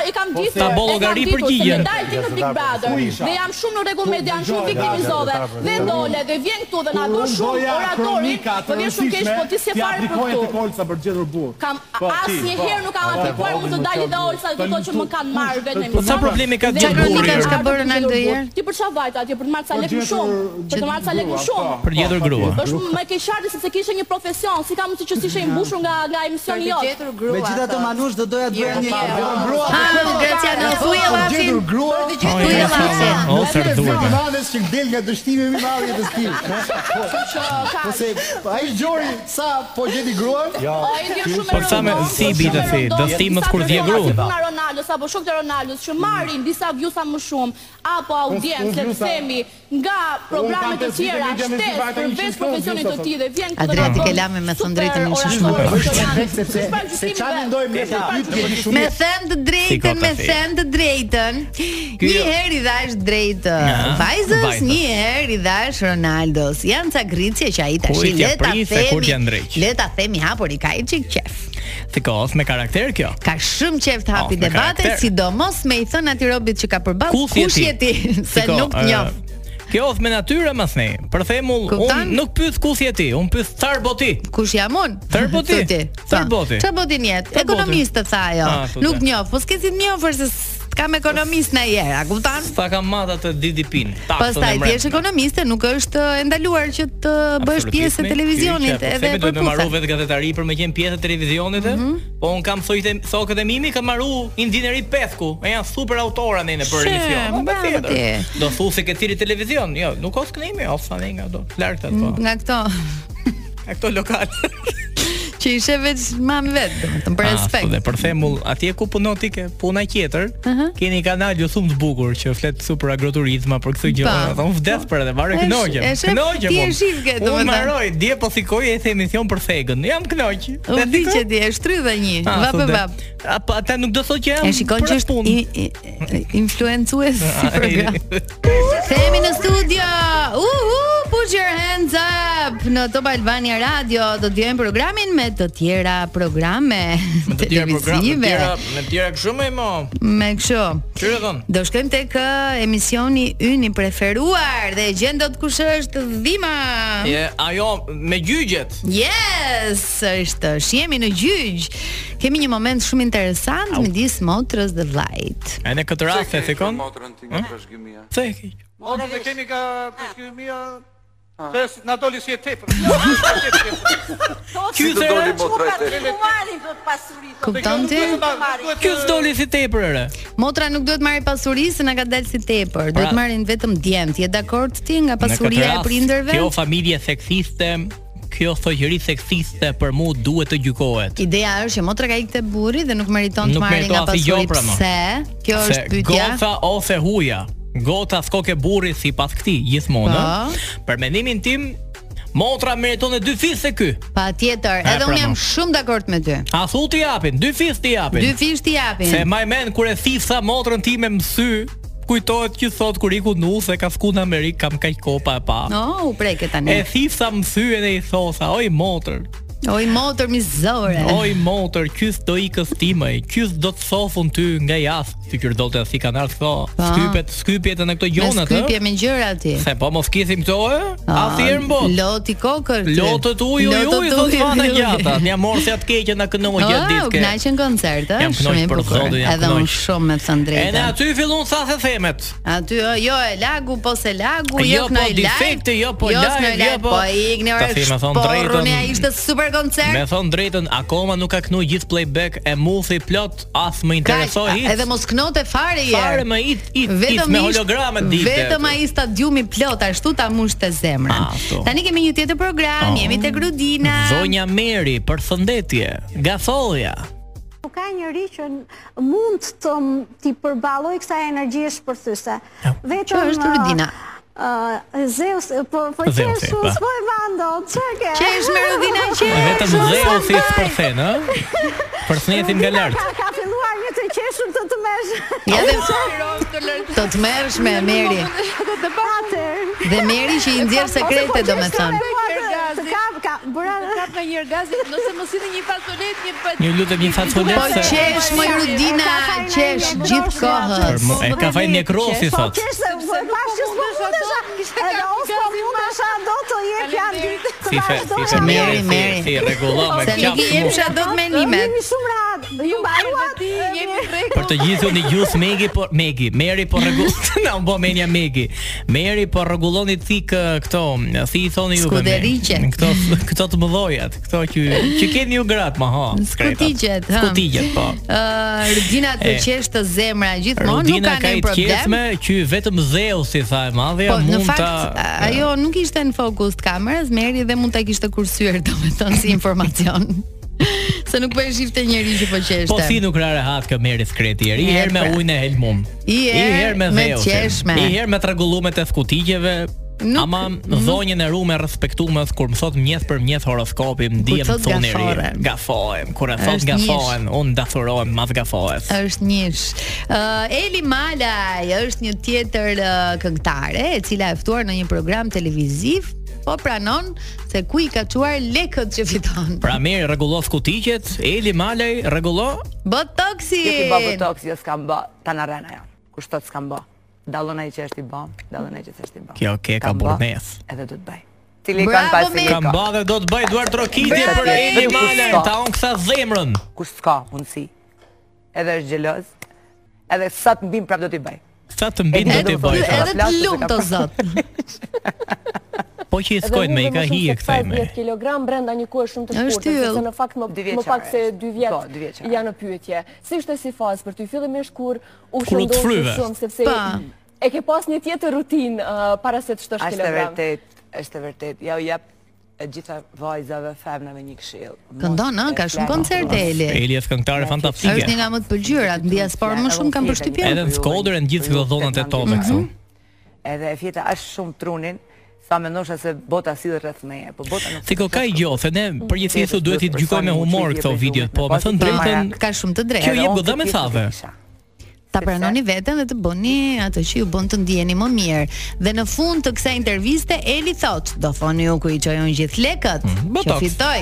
[SPEAKER 13] I kam ditur.
[SPEAKER 8] Ta bollogari për gjigjen.
[SPEAKER 13] Dal ti në Big Brother.
[SPEAKER 11] Ku isha?
[SPEAKER 13] Dhe jam shumë në rregull me janë shumë
[SPEAKER 11] dëgjoj,
[SPEAKER 13] viktimizove.
[SPEAKER 11] ja, ja,
[SPEAKER 13] Dhe
[SPEAKER 11] ja,
[SPEAKER 13] dole dhe vjen këtu dhe na
[SPEAKER 11] Kur
[SPEAKER 13] bën
[SPEAKER 11] unë
[SPEAKER 13] shumë
[SPEAKER 11] doja
[SPEAKER 13] oratorin.
[SPEAKER 11] kronika të
[SPEAKER 13] Po vjen shumë keq,
[SPEAKER 11] rëndësishme,
[SPEAKER 13] po ti se
[SPEAKER 11] ti
[SPEAKER 13] fare për
[SPEAKER 11] aplikoje te
[SPEAKER 13] këtu.
[SPEAKER 11] kolca për të gjetur burr.
[SPEAKER 13] Kam
[SPEAKER 11] Po, ti,
[SPEAKER 13] asnjëherë
[SPEAKER 11] po.
[SPEAKER 13] nuk kam aplikuar, mund të dali dhe olsa do të thotë që më kanë marrë vetëm.
[SPEAKER 8] Po sa problemi ka
[SPEAKER 7] Qa
[SPEAKER 8] gjithë burri?
[SPEAKER 7] kronika është ka
[SPEAKER 8] jo?
[SPEAKER 7] bërë Ronaldo herë?
[SPEAKER 13] Ti për çfarë vajta atje për të marrë ca lekë më shumë? Për të marrë ca lekë më shumë.
[SPEAKER 8] Për gjetur grua.
[SPEAKER 13] Është më e keqardhi sepse kishte një profesion, si ka mundësi që s'ishe i mbushur nga nga emisioni jot.
[SPEAKER 12] Me gjitha të manush do doja të bëja një
[SPEAKER 11] Grua,
[SPEAKER 7] Ah, Graciano, thuj e
[SPEAKER 11] gjetur
[SPEAKER 7] llafin.
[SPEAKER 11] grua.
[SPEAKER 7] Thuj e llafin.
[SPEAKER 8] O, sër duhet.
[SPEAKER 11] Zënë madhes që del nga dështimi më i madh i të stil. Po se ai gjori sa po gjeti gruan? Jo.
[SPEAKER 13] Ai ndjen shumë
[SPEAKER 8] Po sa me- si i bita si, do stimet kur vje grua.
[SPEAKER 13] Nga Ronaldo apo shokët e Ronaldos që marrin disa views më shumë apo audiencë,
[SPEAKER 11] unë
[SPEAKER 13] le të
[SPEAKER 11] vjusa-
[SPEAKER 13] themi, nga programet të
[SPEAKER 11] pesë vite
[SPEAKER 13] tjera,
[SPEAKER 11] që jam
[SPEAKER 13] shtes,
[SPEAKER 11] festival, tani
[SPEAKER 13] përveç
[SPEAKER 11] 100
[SPEAKER 13] profesionit të
[SPEAKER 11] vjusa,
[SPEAKER 13] tij dhe vjen këtu.
[SPEAKER 7] Adriati, ke lame me thënë drejtën, më shumë
[SPEAKER 11] Sepse se ç'a mendoj me të pyetje di shumë.
[SPEAKER 7] Me thënë të drejtën, me
[SPEAKER 8] Psikopathi.
[SPEAKER 7] thënë të drejtën.
[SPEAKER 8] Ky
[SPEAKER 7] Një
[SPEAKER 8] jo.
[SPEAKER 7] herë i dhash drejtë
[SPEAKER 8] Ja,
[SPEAKER 7] vajzës,
[SPEAKER 8] vajzës.
[SPEAKER 7] një herë i dhash Ronaldos. Janë ca gricje që ai tash
[SPEAKER 8] Kur
[SPEAKER 7] i
[SPEAKER 8] t'ja
[SPEAKER 7] le ta
[SPEAKER 8] pris e kur t'ja
[SPEAKER 7] themi.
[SPEAKER 8] ndreq.
[SPEAKER 7] Le ta themi hapur i ka i çik qef.
[SPEAKER 8] Sikos me karakter kjo.
[SPEAKER 7] Ka shumë qef të hapi
[SPEAKER 8] Oh, me
[SPEAKER 7] debate,
[SPEAKER 8] karakter.
[SPEAKER 7] sidomos me i thënë atij robit që ka përballë
[SPEAKER 8] Kush je ti?
[SPEAKER 7] se
[SPEAKER 8] Shiko,
[SPEAKER 7] nuk të njoh.
[SPEAKER 8] ë, Kjo është me natyrë më thënë. Për themull,
[SPEAKER 7] Kupton?
[SPEAKER 8] unë nuk pyet kush je ti, unë pyet çfarë boti.
[SPEAKER 7] Kush jam unë?
[SPEAKER 8] Tër boti.
[SPEAKER 7] Thotë ti.
[SPEAKER 8] Tër
[SPEAKER 7] Po.
[SPEAKER 8] boti.
[SPEAKER 7] Çfarë boti njet?
[SPEAKER 8] Tër boti.
[SPEAKER 7] Ekonomistë tha ajo.
[SPEAKER 8] Ah, thotë.
[SPEAKER 7] Nuk njoh, po s'ke si të njohur se s- kam ekonomist në jera, kupton?
[SPEAKER 8] Sa kam mata të DDP-n.
[SPEAKER 7] Pastaj ti je ekonomiste, nuk është e ndaluar që të bësh pjesë e televizionit edhe
[SPEAKER 8] për
[SPEAKER 7] për
[SPEAKER 8] do të marrë
[SPEAKER 7] pusa. Mhm.
[SPEAKER 8] vetë gazetari për me qenë pjesë e televizionit. e? Po un kam thojtë sokët e mimi kam marru inxhinieri Pesku. E janë super autora ne në për
[SPEAKER 7] Shë,
[SPEAKER 8] emision. Po,
[SPEAKER 7] bravo
[SPEAKER 8] patjetër.
[SPEAKER 7] ti.
[SPEAKER 8] Do thu se ke thirrë televizion. Jo, nuk ka sknimi, o sa ne nga do. Lartë ato.
[SPEAKER 7] Nga këto
[SPEAKER 8] Ato lokale.
[SPEAKER 7] që ishe veç mami vetë, domethënë për
[SPEAKER 8] Ah,
[SPEAKER 7] respekt.
[SPEAKER 8] dhe për thembull, atje ku punon ti ke puna tjetër, keni kanal jo shumë të bukur që flet super agroturizma për këtë gjë.
[SPEAKER 7] Pa.
[SPEAKER 8] Ata unë vdes për edhe varet
[SPEAKER 7] Është-
[SPEAKER 8] kënoqe.
[SPEAKER 7] është-
[SPEAKER 8] Kënoqe
[SPEAKER 7] ti
[SPEAKER 8] po.
[SPEAKER 7] e shifke,
[SPEAKER 8] Unë
[SPEAKER 7] domethënë.
[SPEAKER 8] mbaroj, dje po sikoj e the emision për thegën. Jam kënoq.
[SPEAKER 7] U
[SPEAKER 8] Dhe
[SPEAKER 7] di
[SPEAKER 8] ti
[SPEAKER 7] që
[SPEAKER 8] ku?
[SPEAKER 7] ti e shtrydhe një,
[SPEAKER 8] Ah,
[SPEAKER 7] vap e
[SPEAKER 8] thotë,
[SPEAKER 7] vap.
[SPEAKER 8] A pa ata nuk do thotë që jam.
[SPEAKER 7] E shikon
[SPEAKER 8] për
[SPEAKER 7] që është
[SPEAKER 8] punë. Ah,
[SPEAKER 7] i- i- i- influencues si
[SPEAKER 8] Ai-
[SPEAKER 7] program. Themi në studio. Uhu, put your hands up në Top Albania Radio. Do të vjen programin me të tjera programe
[SPEAKER 8] Me të tjera program, me të
[SPEAKER 7] televizive.
[SPEAKER 8] tjera, me të tjera kështu më mo.
[SPEAKER 7] Me kështu.
[SPEAKER 8] Çfarë thon?
[SPEAKER 7] Do shkojmë tek ë, emisioni ynë i preferuar dhe e gjen dot kush është Dhima.
[SPEAKER 8] Je ajo me gjyqjet.
[SPEAKER 7] Yes, është shihemi në gjyq. Kemi një moment shumë interesant midis motrës dhe vllait.
[SPEAKER 8] E në këtë rast e sikon. Se e ke?
[SPEAKER 9] Motrën e kemi ka përshkrimia Se na doli si e tepër.
[SPEAKER 8] Ky se
[SPEAKER 7] Kupton ti?
[SPEAKER 8] ky s'doli si tepër ere.
[SPEAKER 7] Motra nuk duhet marrë pasuri se na ka dalë si tepër. Duhet
[SPEAKER 8] Pra-
[SPEAKER 7] marrin vetëm djemt. Je dakord ti nga
[SPEAKER 8] Në këtë
[SPEAKER 7] pasuria e
[SPEAKER 8] rast,
[SPEAKER 7] prindërve?
[SPEAKER 8] Kjo familje seksiste kjo shoqëri seksiste për mua duhet të gjykohet.
[SPEAKER 7] Ideja është që motra ka ikë te burri dhe nuk meriton të
[SPEAKER 8] Nuk
[SPEAKER 7] marrë
[SPEAKER 8] meriton
[SPEAKER 7] nga
[SPEAKER 8] asnjë
[SPEAKER 7] pasuri.
[SPEAKER 8] gjopra, mo.
[SPEAKER 7] Pse? Kjo
[SPEAKER 8] Se
[SPEAKER 7] është pyetja.
[SPEAKER 8] Goca ose huja. Gota skoke burri sipas këtij
[SPEAKER 7] Po.
[SPEAKER 8] gjithmonë. ëh. Për mendimin tim, motra meriton edhe dy fis se ky.
[SPEAKER 7] Patjetër,
[SPEAKER 8] E,
[SPEAKER 7] edhe
[SPEAKER 8] pra,
[SPEAKER 7] unë jam
[SPEAKER 8] mo.
[SPEAKER 7] shumë dakord me ty.
[SPEAKER 8] A thu ti japin, dy fis ti japin.
[SPEAKER 7] Dy fish ti japin.
[SPEAKER 8] Se maj men kur e thitha motrën time më sy, kujtohet që thot kur iku në se ka sku në Amerikë kam kaq kopa e pa.
[SPEAKER 7] No, u preket tani.
[SPEAKER 8] E thitha më sy edhe i thosa, "Oj motër,
[SPEAKER 7] Oj motër mizore.
[SPEAKER 8] Oj motër, qyth do ikës timaj, qyth do të thofun ty nga jashtë, ti qyr do të si kanë ardhur këto.
[SPEAKER 7] Pa.
[SPEAKER 8] Skypet, skypjet e në këto
[SPEAKER 7] Po. Me
[SPEAKER 8] jonat,
[SPEAKER 7] skypje me gjëra ti. Ah,
[SPEAKER 8] Se po mos kisim këto, e? Atëherë në botë.
[SPEAKER 7] Loti kokër. ti.
[SPEAKER 8] Lotët uj, uj,
[SPEAKER 7] Lotët
[SPEAKER 8] uj, thot
[SPEAKER 7] uj,
[SPEAKER 8] fana
[SPEAKER 7] uj.
[SPEAKER 8] gjata. Një morë se atë keqe në kënoj
[SPEAKER 7] Oh,
[SPEAKER 8] gjatë
[SPEAKER 7] u
[SPEAKER 8] ditë ke.
[SPEAKER 7] kënaqën koncert, ë?
[SPEAKER 8] Jam
[SPEAKER 7] Shumë
[SPEAKER 8] kënoj
[SPEAKER 7] i
[SPEAKER 8] për
[SPEAKER 7] bukur.
[SPEAKER 8] zotin, jam
[SPEAKER 7] Edhe
[SPEAKER 8] kënoj.
[SPEAKER 7] unë shumë me thënë
[SPEAKER 8] Edhe
[SPEAKER 7] drejtën.
[SPEAKER 8] aty fillon sa the themet.
[SPEAKER 7] Aty ë, jo e lagu, po se lagu,
[SPEAKER 8] Jo,
[SPEAKER 7] jo
[SPEAKER 8] po
[SPEAKER 7] kënoj live.
[SPEAKER 8] defekte, jo, po
[SPEAKER 7] s'knoj
[SPEAKER 8] live, jo, po-
[SPEAKER 7] Po ikni
[SPEAKER 8] Ta
[SPEAKER 7] orë.
[SPEAKER 8] si, me thënë drejtën.
[SPEAKER 7] Porrun ja ishte super
[SPEAKER 8] Me
[SPEAKER 7] koncert.
[SPEAKER 8] thon drejtën, akoma nuk ka kënu gjithë playback e muthi plot, as më interesoj
[SPEAKER 7] Kaq,
[SPEAKER 8] hiç.
[SPEAKER 7] edhe mos knote fare je.
[SPEAKER 8] Fare më it, it, it, me holograme ditë.
[SPEAKER 7] Vetëm ai stadiumi plot ashtu ta mushte zemrën.
[SPEAKER 8] Ashtu.
[SPEAKER 7] Tani kemi një tjetër program,
[SPEAKER 8] Oh.
[SPEAKER 7] jemi tek Rudina.
[SPEAKER 8] Zonja Meri, përshëndetje. Gafolja.
[SPEAKER 14] Po ka njëri që n- mund të m- t'i përballoj kësaj energjie shpërthyse. Vetëm
[SPEAKER 7] Që është Rudina?
[SPEAKER 14] ë, Zeus, po po
[SPEAKER 8] Zeusi,
[SPEAKER 14] qesh,
[SPEAKER 8] pa.
[SPEAKER 14] s'po e vando, ç'ke? ke?
[SPEAKER 7] Qesh me Rudina, qesh.
[SPEAKER 8] Vetëm Zeusi s'përthen, ë? Përthnetin nga lart.
[SPEAKER 14] Ka, ka filluar një të qeshur të të mesh.
[SPEAKER 7] Ja dhe të të merresh me Meri dhe Meri që i nxjerr sekrete domethënë.
[SPEAKER 14] Të kap, Po, ka, bëra
[SPEAKER 13] Kap nga një gazi, nëse mos sillni një fasolet, një pat.
[SPEAKER 8] Ju lutem një fasolet
[SPEAKER 7] Po qesh më Rudina, qesh gjithë
[SPEAKER 8] Për
[SPEAKER 7] kohës.
[SPEAKER 8] mu- e ka fajin nekrosi
[SPEAKER 14] Po
[SPEAKER 8] sot.
[SPEAKER 14] qesh se po pash që s'po mundesha. Edhe unë s'po mundesha do të jep janë ditë. të
[SPEAKER 8] Si fe, si fe
[SPEAKER 14] vazhdoj.
[SPEAKER 8] Meri, si, si rregullo me
[SPEAKER 7] Se nuk i jepsha
[SPEAKER 8] qafë.
[SPEAKER 7] dot menimet.
[SPEAKER 14] Jemi shumë rahat. Ju mbaruat.
[SPEAKER 13] 呃
[SPEAKER 14] Jemi
[SPEAKER 8] Për të gjithë unë i gjus Megi po Megi, Meri po rregull. Na u bë menja Megi. Meri po rregulloni thik ë, këto, si i thoni ju
[SPEAKER 7] Skuderiqe.
[SPEAKER 8] Këto këto të mëdhojat, këto që që keni ju gratë ma ha. skretat.
[SPEAKER 7] Skutigjet, ha.
[SPEAKER 8] Skutigjet, po.
[SPEAKER 7] Ë Rudina të
[SPEAKER 8] E.
[SPEAKER 7] qesh të zemra gjithmonë nuk
[SPEAKER 8] Rudina
[SPEAKER 7] ka
[SPEAKER 8] ka i
[SPEAKER 7] ndonjë problem.
[SPEAKER 8] tjetme që vetëm Zeusi tha e madhja
[SPEAKER 7] Po, në
[SPEAKER 8] mund
[SPEAKER 7] fakt,
[SPEAKER 8] ta
[SPEAKER 7] ajo nuk ishte në fokus të kamerës, Meri dhe mund ta kishte kursyer domethënë si informacion. Se nuk po e shifte njëri që po qeshte.
[SPEAKER 8] Po si nuk ra rehat kjo merri skreti i
[SPEAKER 7] E,
[SPEAKER 8] herë me
[SPEAKER 7] pra.
[SPEAKER 8] ujin e helmum.
[SPEAKER 7] I erë me
[SPEAKER 8] dheusin,
[SPEAKER 7] qeshme.
[SPEAKER 8] I herë me tragullumet e skutigjeve.
[SPEAKER 7] Nuk-
[SPEAKER 8] Ama zonjën e rume respektumes kur më thot mjes për mjes horoskopi më dihem
[SPEAKER 7] thot
[SPEAKER 8] thoni ri.
[SPEAKER 7] gaforen.
[SPEAKER 8] Gafohem. Kur e thot
[SPEAKER 7] Është njësh.
[SPEAKER 8] gafohen, unë dathurohem mas gafohes.
[SPEAKER 7] është njësh. Ë Eli Malaj është një tjetër ë, këngëtare e cila e ftuar në një program televiziv, po pranon se ku i ka çuar lekët që fiton.
[SPEAKER 8] Pra merri rregullo skutigjet, Eli Malaj rregullo
[SPEAKER 7] Botoksi.
[SPEAKER 15] Jo ti bë botoks, jo s'kam bë, ta në rena jam. Kushtot s'kam bë. Dallon ai që është i bëm, dallon ai që s'është i bëm.
[SPEAKER 8] Kjo ke ka
[SPEAKER 15] Kam bë,
[SPEAKER 8] burnes.
[SPEAKER 15] Edhe do të bëj. Silikon pa
[SPEAKER 8] Kam
[SPEAKER 15] silikon.
[SPEAKER 8] ba dhe pra do të bëj duar trokitje
[SPEAKER 15] Bravo,
[SPEAKER 8] për Eli
[SPEAKER 15] Meri.
[SPEAKER 8] Malaj, ta on kësa zemrën.
[SPEAKER 15] Kur s'ka mundsi. Edhe është xheloz. Edhe sa të mbim prap do t'i bëj.
[SPEAKER 8] Sa të mbin do të bëj. tha.
[SPEAKER 7] Edhe të lumë të zot.
[SPEAKER 8] Po që i skojnë me i ka hije kësaj me.
[SPEAKER 13] 10 kg brenda një kohë shumë të
[SPEAKER 7] Është
[SPEAKER 13] shkurtër,
[SPEAKER 7] yll.
[SPEAKER 13] sepse në fakt më,
[SPEAKER 15] Dy
[SPEAKER 13] më pak se
[SPEAKER 15] vjeçare
[SPEAKER 13] 2
[SPEAKER 15] Po, dy
[SPEAKER 13] vjet
[SPEAKER 15] vjeçare.
[SPEAKER 13] janë në pyetje. Si ishte si fazë për ty fillimisht kur u
[SPEAKER 15] Kur u të fryve.
[SPEAKER 13] shëndosë shumë sepse
[SPEAKER 15] Pa.
[SPEAKER 13] e ke pas një tjetër rutinë uh, para se të shtosh
[SPEAKER 15] Është e
[SPEAKER 13] kilogram.
[SPEAKER 15] vërtet, është e vërtet. Ja u jap e gjitha vajzave femnave një këshill. Mos
[SPEAKER 7] Këndon, ë,
[SPEAKER 15] e
[SPEAKER 7] ka shumë
[SPEAKER 15] flet.
[SPEAKER 7] koncerte Eli.
[SPEAKER 8] Eli është
[SPEAKER 7] Është
[SPEAKER 8] këngëtare
[SPEAKER 7] një
[SPEAKER 8] fantastike.
[SPEAKER 7] nga më të pëlqyrat, ndija por më shumë kam përshtypjen.
[SPEAKER 8] Edhe në Skodër e ndjen këto zonat e tome këtu.
[SPEAKER 15] Edhe e fjeta aq shumë trunin sa mendosha se bota sillet rreth meje, po bota nuk.
[SPEAKER 8] Si ko ka i gjo, se
[SPEAKER 7] Mm.
[SPEAKER 8] ne përgjithsisht duhet i gjykoj me humor këto videot, po me thënë drejtën,
[SPEAKER 7] Ka shumë të drejtë.
[SPEAKER 8] kjo jep goda me thave.
[SPEAKER 7] ta pranoni veten dhe të bëni atë që ju bën të ndjeni më mirë. Dhe në fund të kësaj interviste Eli thot, do thoni ju ku i çoj unë gjithë lekët që
[SPEAKER 8] Mm, botox.
[SPEAKER 7] fitoj.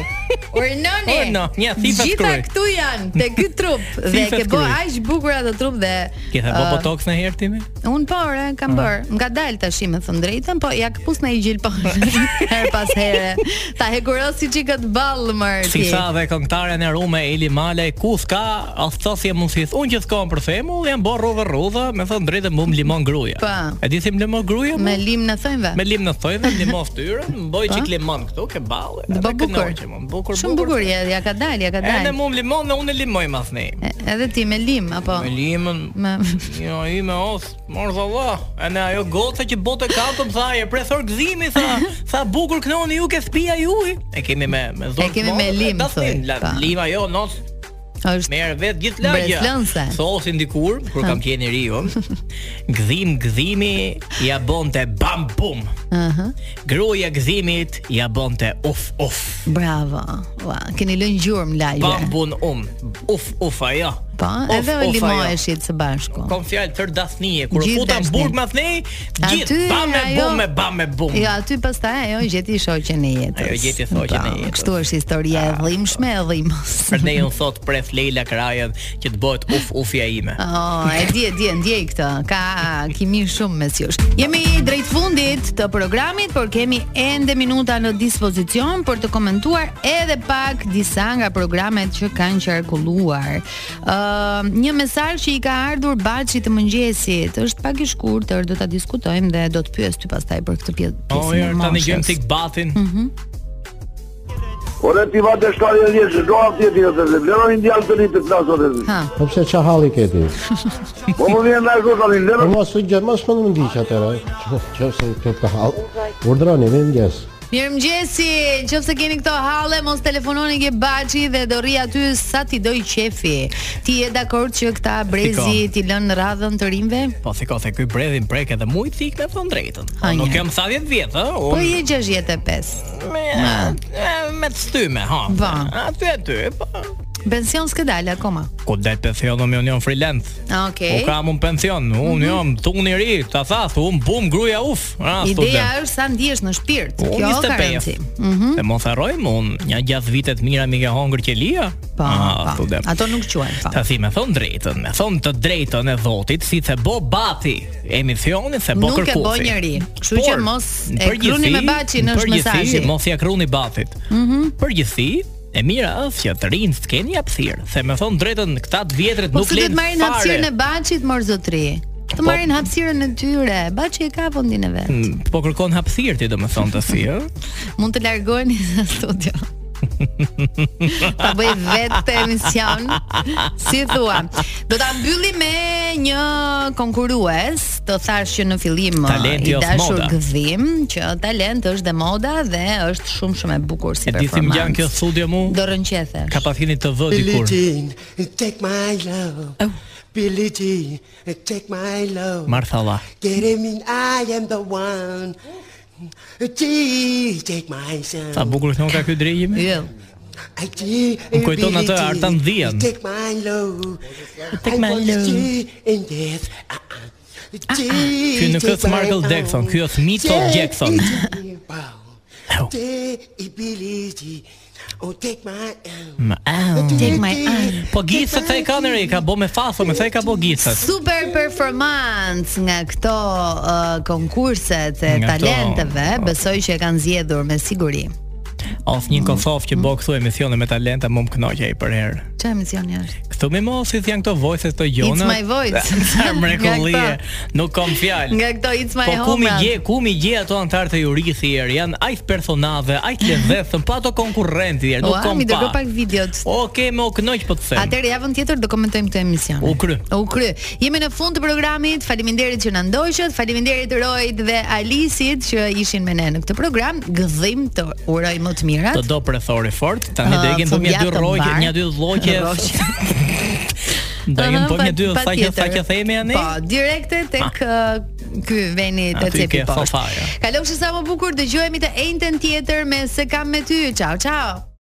[SPEAKER 7] Urnoni.
[SPEAKER 8] Urno, një thifë
[SPEAKER 7] Gjitha
[SPEAKER 8] shkruaj.
[SPEAKER 7] këtu janë te ky trup dhe
[SPEAKER 8] Thifë
[SPEAKER 7] ke bë
[SPEAKER 8] shkruaj.
[SPEAKER 7] aq bukur atë trup dhe
[SPEAKER 8] Ke thë bo
[SPEAKER 7] ë,
[SPEAKER 8] botox Mm. në herë timi?
[SPEAKER 7] Un po, ore, kam bër. Nga dal tash me thën drejtën, po ja kapus në i gjilpon. her pas here. Ta hekuros si çikët ball mër
[SPEAKER 8] Si
[SPEAKER 7] ti.
[SPEAKER 8] tha dhe këngëtaren e rume Eli Malaj, ku s'ka aftësje mundësis. Unë që s'kam për femull, jam kanë bërë rrodha rrodha, me thënë drejtë mbum limon gruaja.
[SPEAKER 7] Po.
[SPEAKER 8] E di thim limon gruaja?
[SPEAKER 7] Me lim në thënve.
[SPEAKER 8] Me lim në thojve, limon fytyrën, mboj
[SPEAKER 7] Po.
[SPEAKER 8] çik limon këtu, ke balle.
[SPEAKER 7] Dhe bë
[SPEAKER 8] edhe
[SPEAKER 7] bukur.
[SPEAKER 8] kënaqem unë. Bukur,
[SPEAKER 7] Shumë
[SPEAKER 8] bukur.
[SPEAKER 7] bukur, ja, ja ka dalë, ja ka
[SPEAKER 8] Edhe
[SPEAKER 7] dalë.
[SPEAKER 8] mbum limon dhe unë e limoj masnej.
[SPEAKER 7] E- po. Edhe ti me lim apo
[SPEAKER 8] Me limën,
[SPEAKER 7] me
[SPEAKER 8] Jo, i me os, mor valla. E ne ajo goca që bote katëm tha, e presor gëzimi tha, tha bukur knoni ju ke spia juj. E kemi me me zonë.
[SPEAKER 7] E kemi me lim,
[SPEAKER 8] Dasnim,
[SPEAKER 7] thuj,
[SPEAKER 8] la,
[SPEAKER 7] pa.
[SPEAKER 8] lima jo nos.
[SPEAKER 7] Është
[SPEAKER 8] merr vet gjithë lagja.
[SPEAKER 7] breslënse.
[SPEAKER 8] Thosin dikur kur kam qenë i ri unë, gëzim gëzimi ja bonte bam bum.
[SPEAKER 7] Aha.
[SPEAKER 8] Gruaja gëzimit ja bonte uf uf.
[SPEAKER 7] Bravo. Ua, keni lënë gjurmë lagje.
[SPEAKER 8] Bam bun um. Uf uf ajo.
[SPEAKER 7] Po,
[SPEAKER 8] Uf,
[SPEAKER 7] edhe
[SPEAKER 8] uf, ajo.
[SPEAKER 7] limoheshit së bashku.
[SPEAKER 8] Kom fjalë tër dashnije, kur
[SPEAKER 7] Po. Gjithë
[SPEAKER 8] u futa në
[SPEAKER 7] dashni.
[SPEAKER 8] burg më thnej, gjithë
[SPEAKER 7] Aty,
[SPEAKER 8] bam me
[SPEAKER 7] ajo-
[SPEAKER 8] bum me bam me bum.
[SPEAKER 7] Jo, aty pastaj ajo gjeti shoqen e jetës.
[SPEAKER 8] Ajo gjeti shoqen e
[SPEAKER 7] Po,
[SPEAKER 8] jetës. Ah.
[SPEAKER 7] Kështu është historia e dhimbshme e dhimës.
[SPEAKER 8] Për ne unë thot pref Leila Krajën që të bëhet uf ufja ime.
[SPEAKER 7] Oh, e di, e di, e ndjej këtë. Ka kimi shumë mes jush. Jemi drejt fundit të programit, por kemi ende minuta në dispozicion për të komentuar edhe pak disa nga programet që kanë qarkulluar. Ë, një mesazh që i ka ardhur Baçi të mëngjesit, është pak i shkurtër, do ta diskutojmë dhe do të pyes ty pastaj për këtë pjesë. Mhm.
[SPEAKER 8] O,
[SPEAKER 7] pjesën e
[SPEAKER 8] Po, jërë, ta në gjëmë
[SPEAKER 7] moshës.
[SPEAKER 8] tik batin.
[SPEAKER 16] Ore Po ti vate shkari e djesh, do afti e ti e të se, vleroni një djallë të një të klasë o të zi.
[SPEAKER 11] Po pse çfarë halli ke ti?
[SPEAKER 16] Po më vjen nga shko tani,
[SPEAKER 11] Po
[SPEAKER 16] vleroni.
[SPEAKER 11] mos u gjë, mos më eh. ndiq atëherë. Qofse këtu ka hall. Urdhroni më ndjes.
[SPEAKER 7] Mirëmëngjesi, nëse keni këto halle, mos telefononi ke Baçi dhe do rri aty sa ti doj qefi. Ti je dakord që këta brezi ti lën në radhën të rinve?
[SPEAKER 8] Po thiko se ky bredhin prek edhe mu i thik me thon drejtën.
[SPEAKER 7] Ha,
[SPEAKER 8] Unë nuk
[SPEAKER 7] njerë.
[SPEAKER 8] jam 70 vjet, ë?
[SPEAKER 7] Po
[SPEAKER 8] Unë
[SPEAKER 7] je 65.
[SPEAKER 8] e, me të styme, ha.
[SPEAKER 7] Va.
[SPEAKER 8] Aty aty. po.
[SPEAKER 7] Pension s'ke dal akoma.
[SPEAKER 8] Ku del pension unë unë jam freelance.
[SPEAKER 7] Okej. Mhm.
[SPEAKER 8] U kam un pension, unë jam tun i ri, ta thath, un bum gruaja uf. Ah,
[SPEAKER 7] Ideja
[SPEAKER 8] student.
[SPEAKER 7] është sa ndihesh në shpirt.
[SPEAKER 8] Po, Unë
[SPEAKER 7] Kjo ka
[SPEAKER 8] 25.
[SPEAKER 7] rëndësi. Mhm.
[SPEAKER 8] Se mos harrojmë, unë një gjatë vitet mira mi ke hongër qelia.
[SPEAKER 7] Po,
[SPEAKER 8] Ah,
[SPEAKER 7] po.
[SPEAKER 8] student.
[SPEAKER 7] Ato nuk quhen. po.
[SPEAKER 8] Ta si me thon drejtën, me thon të drejtën e Zotit, si se bo bati emisionin, se bo
[SPEAKER 7] Nuk e
[SPEAKER 8] kërkuesi.
[SPEAKER 7] bën njëri. Kështu që
[SPEAKER 8] Por,
[SPEAKER 7] mos
[SPEAKER 8] në
[SPEAKER 7] e kruni
[SPEAKER 8] përgjithsi-
[SPEAKER 7] me Baçin
[SPEAKER 8] në
[SPEAKER 7] është
[SPEAKER 8] përgjithsi,
[SPEAKER 7] mesazhi.
[SPEAKER 8] Mos ja kruni batit.
[SPEAKER 7] Mhm.
[SPEAKER 8] Përgjithsi, e mira është që të rinë të keni hapësirë, se me thon drejtën këta të vjetrit
[SPEAKER 7] Po
[SPEAKER 8] nuk
[SPEAKER 7] se do të
[SPEAKER 8] lënë
[SPEAKER 7] marrin hapësirën e Baçit, mor zotri. Të
[SPEAKER 8] Po-
[SPEAKER 7] marrin hapësirën e tyre. Baçi e ka vendin e vet.
[SPEAKER 8] Mm, Po kërkon hapësirë ti domethënë të si, ë?
[SPEAKER 7] Mund të largoheni nga studio. Ta bëj vetë emision. Si thua, do ta mbyllim me një konkurues, të thash që në fillim uh,
[SPEAKER 8] Talenti
[SPEAKER 7] i
[SPEAKER 8] është
[SPEAKER 7] dashur
[SPEAKER 8] moda.
[SPEAKER 7] gëzim, që talent është dhe moda dhe është shumë shumë e bukur si
[SPEAKER 8] E di si më gjan kjo
[SPEAKER 7] performancë.
[SPEAKER 8] studio mu.
[SPEAKER 7] Do rënqethesh.
[SPEAKER 8] Ka pas keni të vë
[SPEAKER 17] Billie
[SPEAKER 8] dikur.
[SPEAKER 17] Jean, take my love. Billie Jean, take my love.
[SPEAKER 8] Marthalla.
[SPEAKER 17] Get him in, I am the one. Gee, take my son.
[SPEAKER 8] Sa bukur kënon ka ky drejim.
[SPEAKER 7] Jo.
[SPEAKER 17] Ai ti.
[SPEAKER 8] Më kujton atë Artan Dhian.
[SPEAKER 17] Take my love.
[SPEAKER 8] Take my love. Ah,
[SPEAKER 17] In Ah, death.
[SPEAKER 8] Ky nuk është Michael Jackson, ky është Michael Jackson.
[SPEAKER 17] Oh, take my hand.
[SPEAKER 8] Ma, au.
[SPEAKER 7] Take my hand.
[SPEAKER 8] Po gjithë të i ka në re, ka bo me faso, me sa i ka bo gjithët.
[SPEAKER 7] Super performancë nga këto uh, konkurset e
[SPEAKER 8] Nga këto-
[SPEAKER 7] talenteve, besoj që e kanë zgjedhur me siguri.
[SPEAKER 8] Of një Kosovë që bo këtu emisione me talenta, më më kënoqja i për herë.
[SPEAKER 7] Çfarë emisioni është?
[SPEAKER 8] Këtu me mosis janë këto voices të gjona.
[SPEAKER 7] It's my voice.
[SPEAKER 8] Sa mrekullie.
[SPEAKER 7] Nga
[SPEAKER 8] Nuk kam fjalë.
[SPEAKER 7] Nga këto It's my
[SPEAKER 8] Po ku
[SPEAKER 7] home
[SPEAKER 8] mi
[SPEAKER 7] run.
[SPEAKER 8] gje, ku mi gje ato antar të jurisi erë, janë aq personazhe, aq lezetshëm, pa ato konkurrentë erë, nuk
[SPEAKER 7] Ua,
[SPEAKER 8] kam
[SPEAKER 7] mi dërgo
[SPEAKER 8] pa.
[SPEAKER 7] pak videot.
[SPEAKER 8] Okej, më u kënoq po të them.
[SPEAKER 7] Atëherë javën tjetër do komentojmë këtë emision.
[SPEAKER 8] U kry.
[SPEAKER 7] U kry. Jemi në fund të programit. Faleminderit që na ndoqët. Faleminderit Rojt dhe Alisit që ishin me ne në këtë program. Gëdhim të uroj më të mirat.
[SPEAKER 8] Të do prethori fort. Tani do
[SPEAKER 7] Ah,
[SPEAKER 8] jekin thënë një dy
[SPEAKER 7] fundjavë të
[SPEAKER 8] rroqe,
[SPEAKER 7] mbar.
[SPEAKER 8] një dy lloqe.
[SPEAKER 7] Rroqe.
[SPEAKER 8] Do jenë po një dy
[SPEAKER 7] Pa-
[SPEAKER 8] sa që sa
[SPEAKER 7] patjetër.
[SPEAKER 8] që themi ani.
[SPEAKER 7] Po, direkte tek ë, ky veni te
[SPEAKER 8] Aty
[SPEAKER 7] cepi
[SPEAKER 8] ke
[SPEAKER 7] poshtë.
[SPEAKER 8] sofaja.
[SPEAKER 7] Kalofshi sa më bukur, dëgjohemi të njëjtën tjetër me se kam me ty. Ciao, ciao.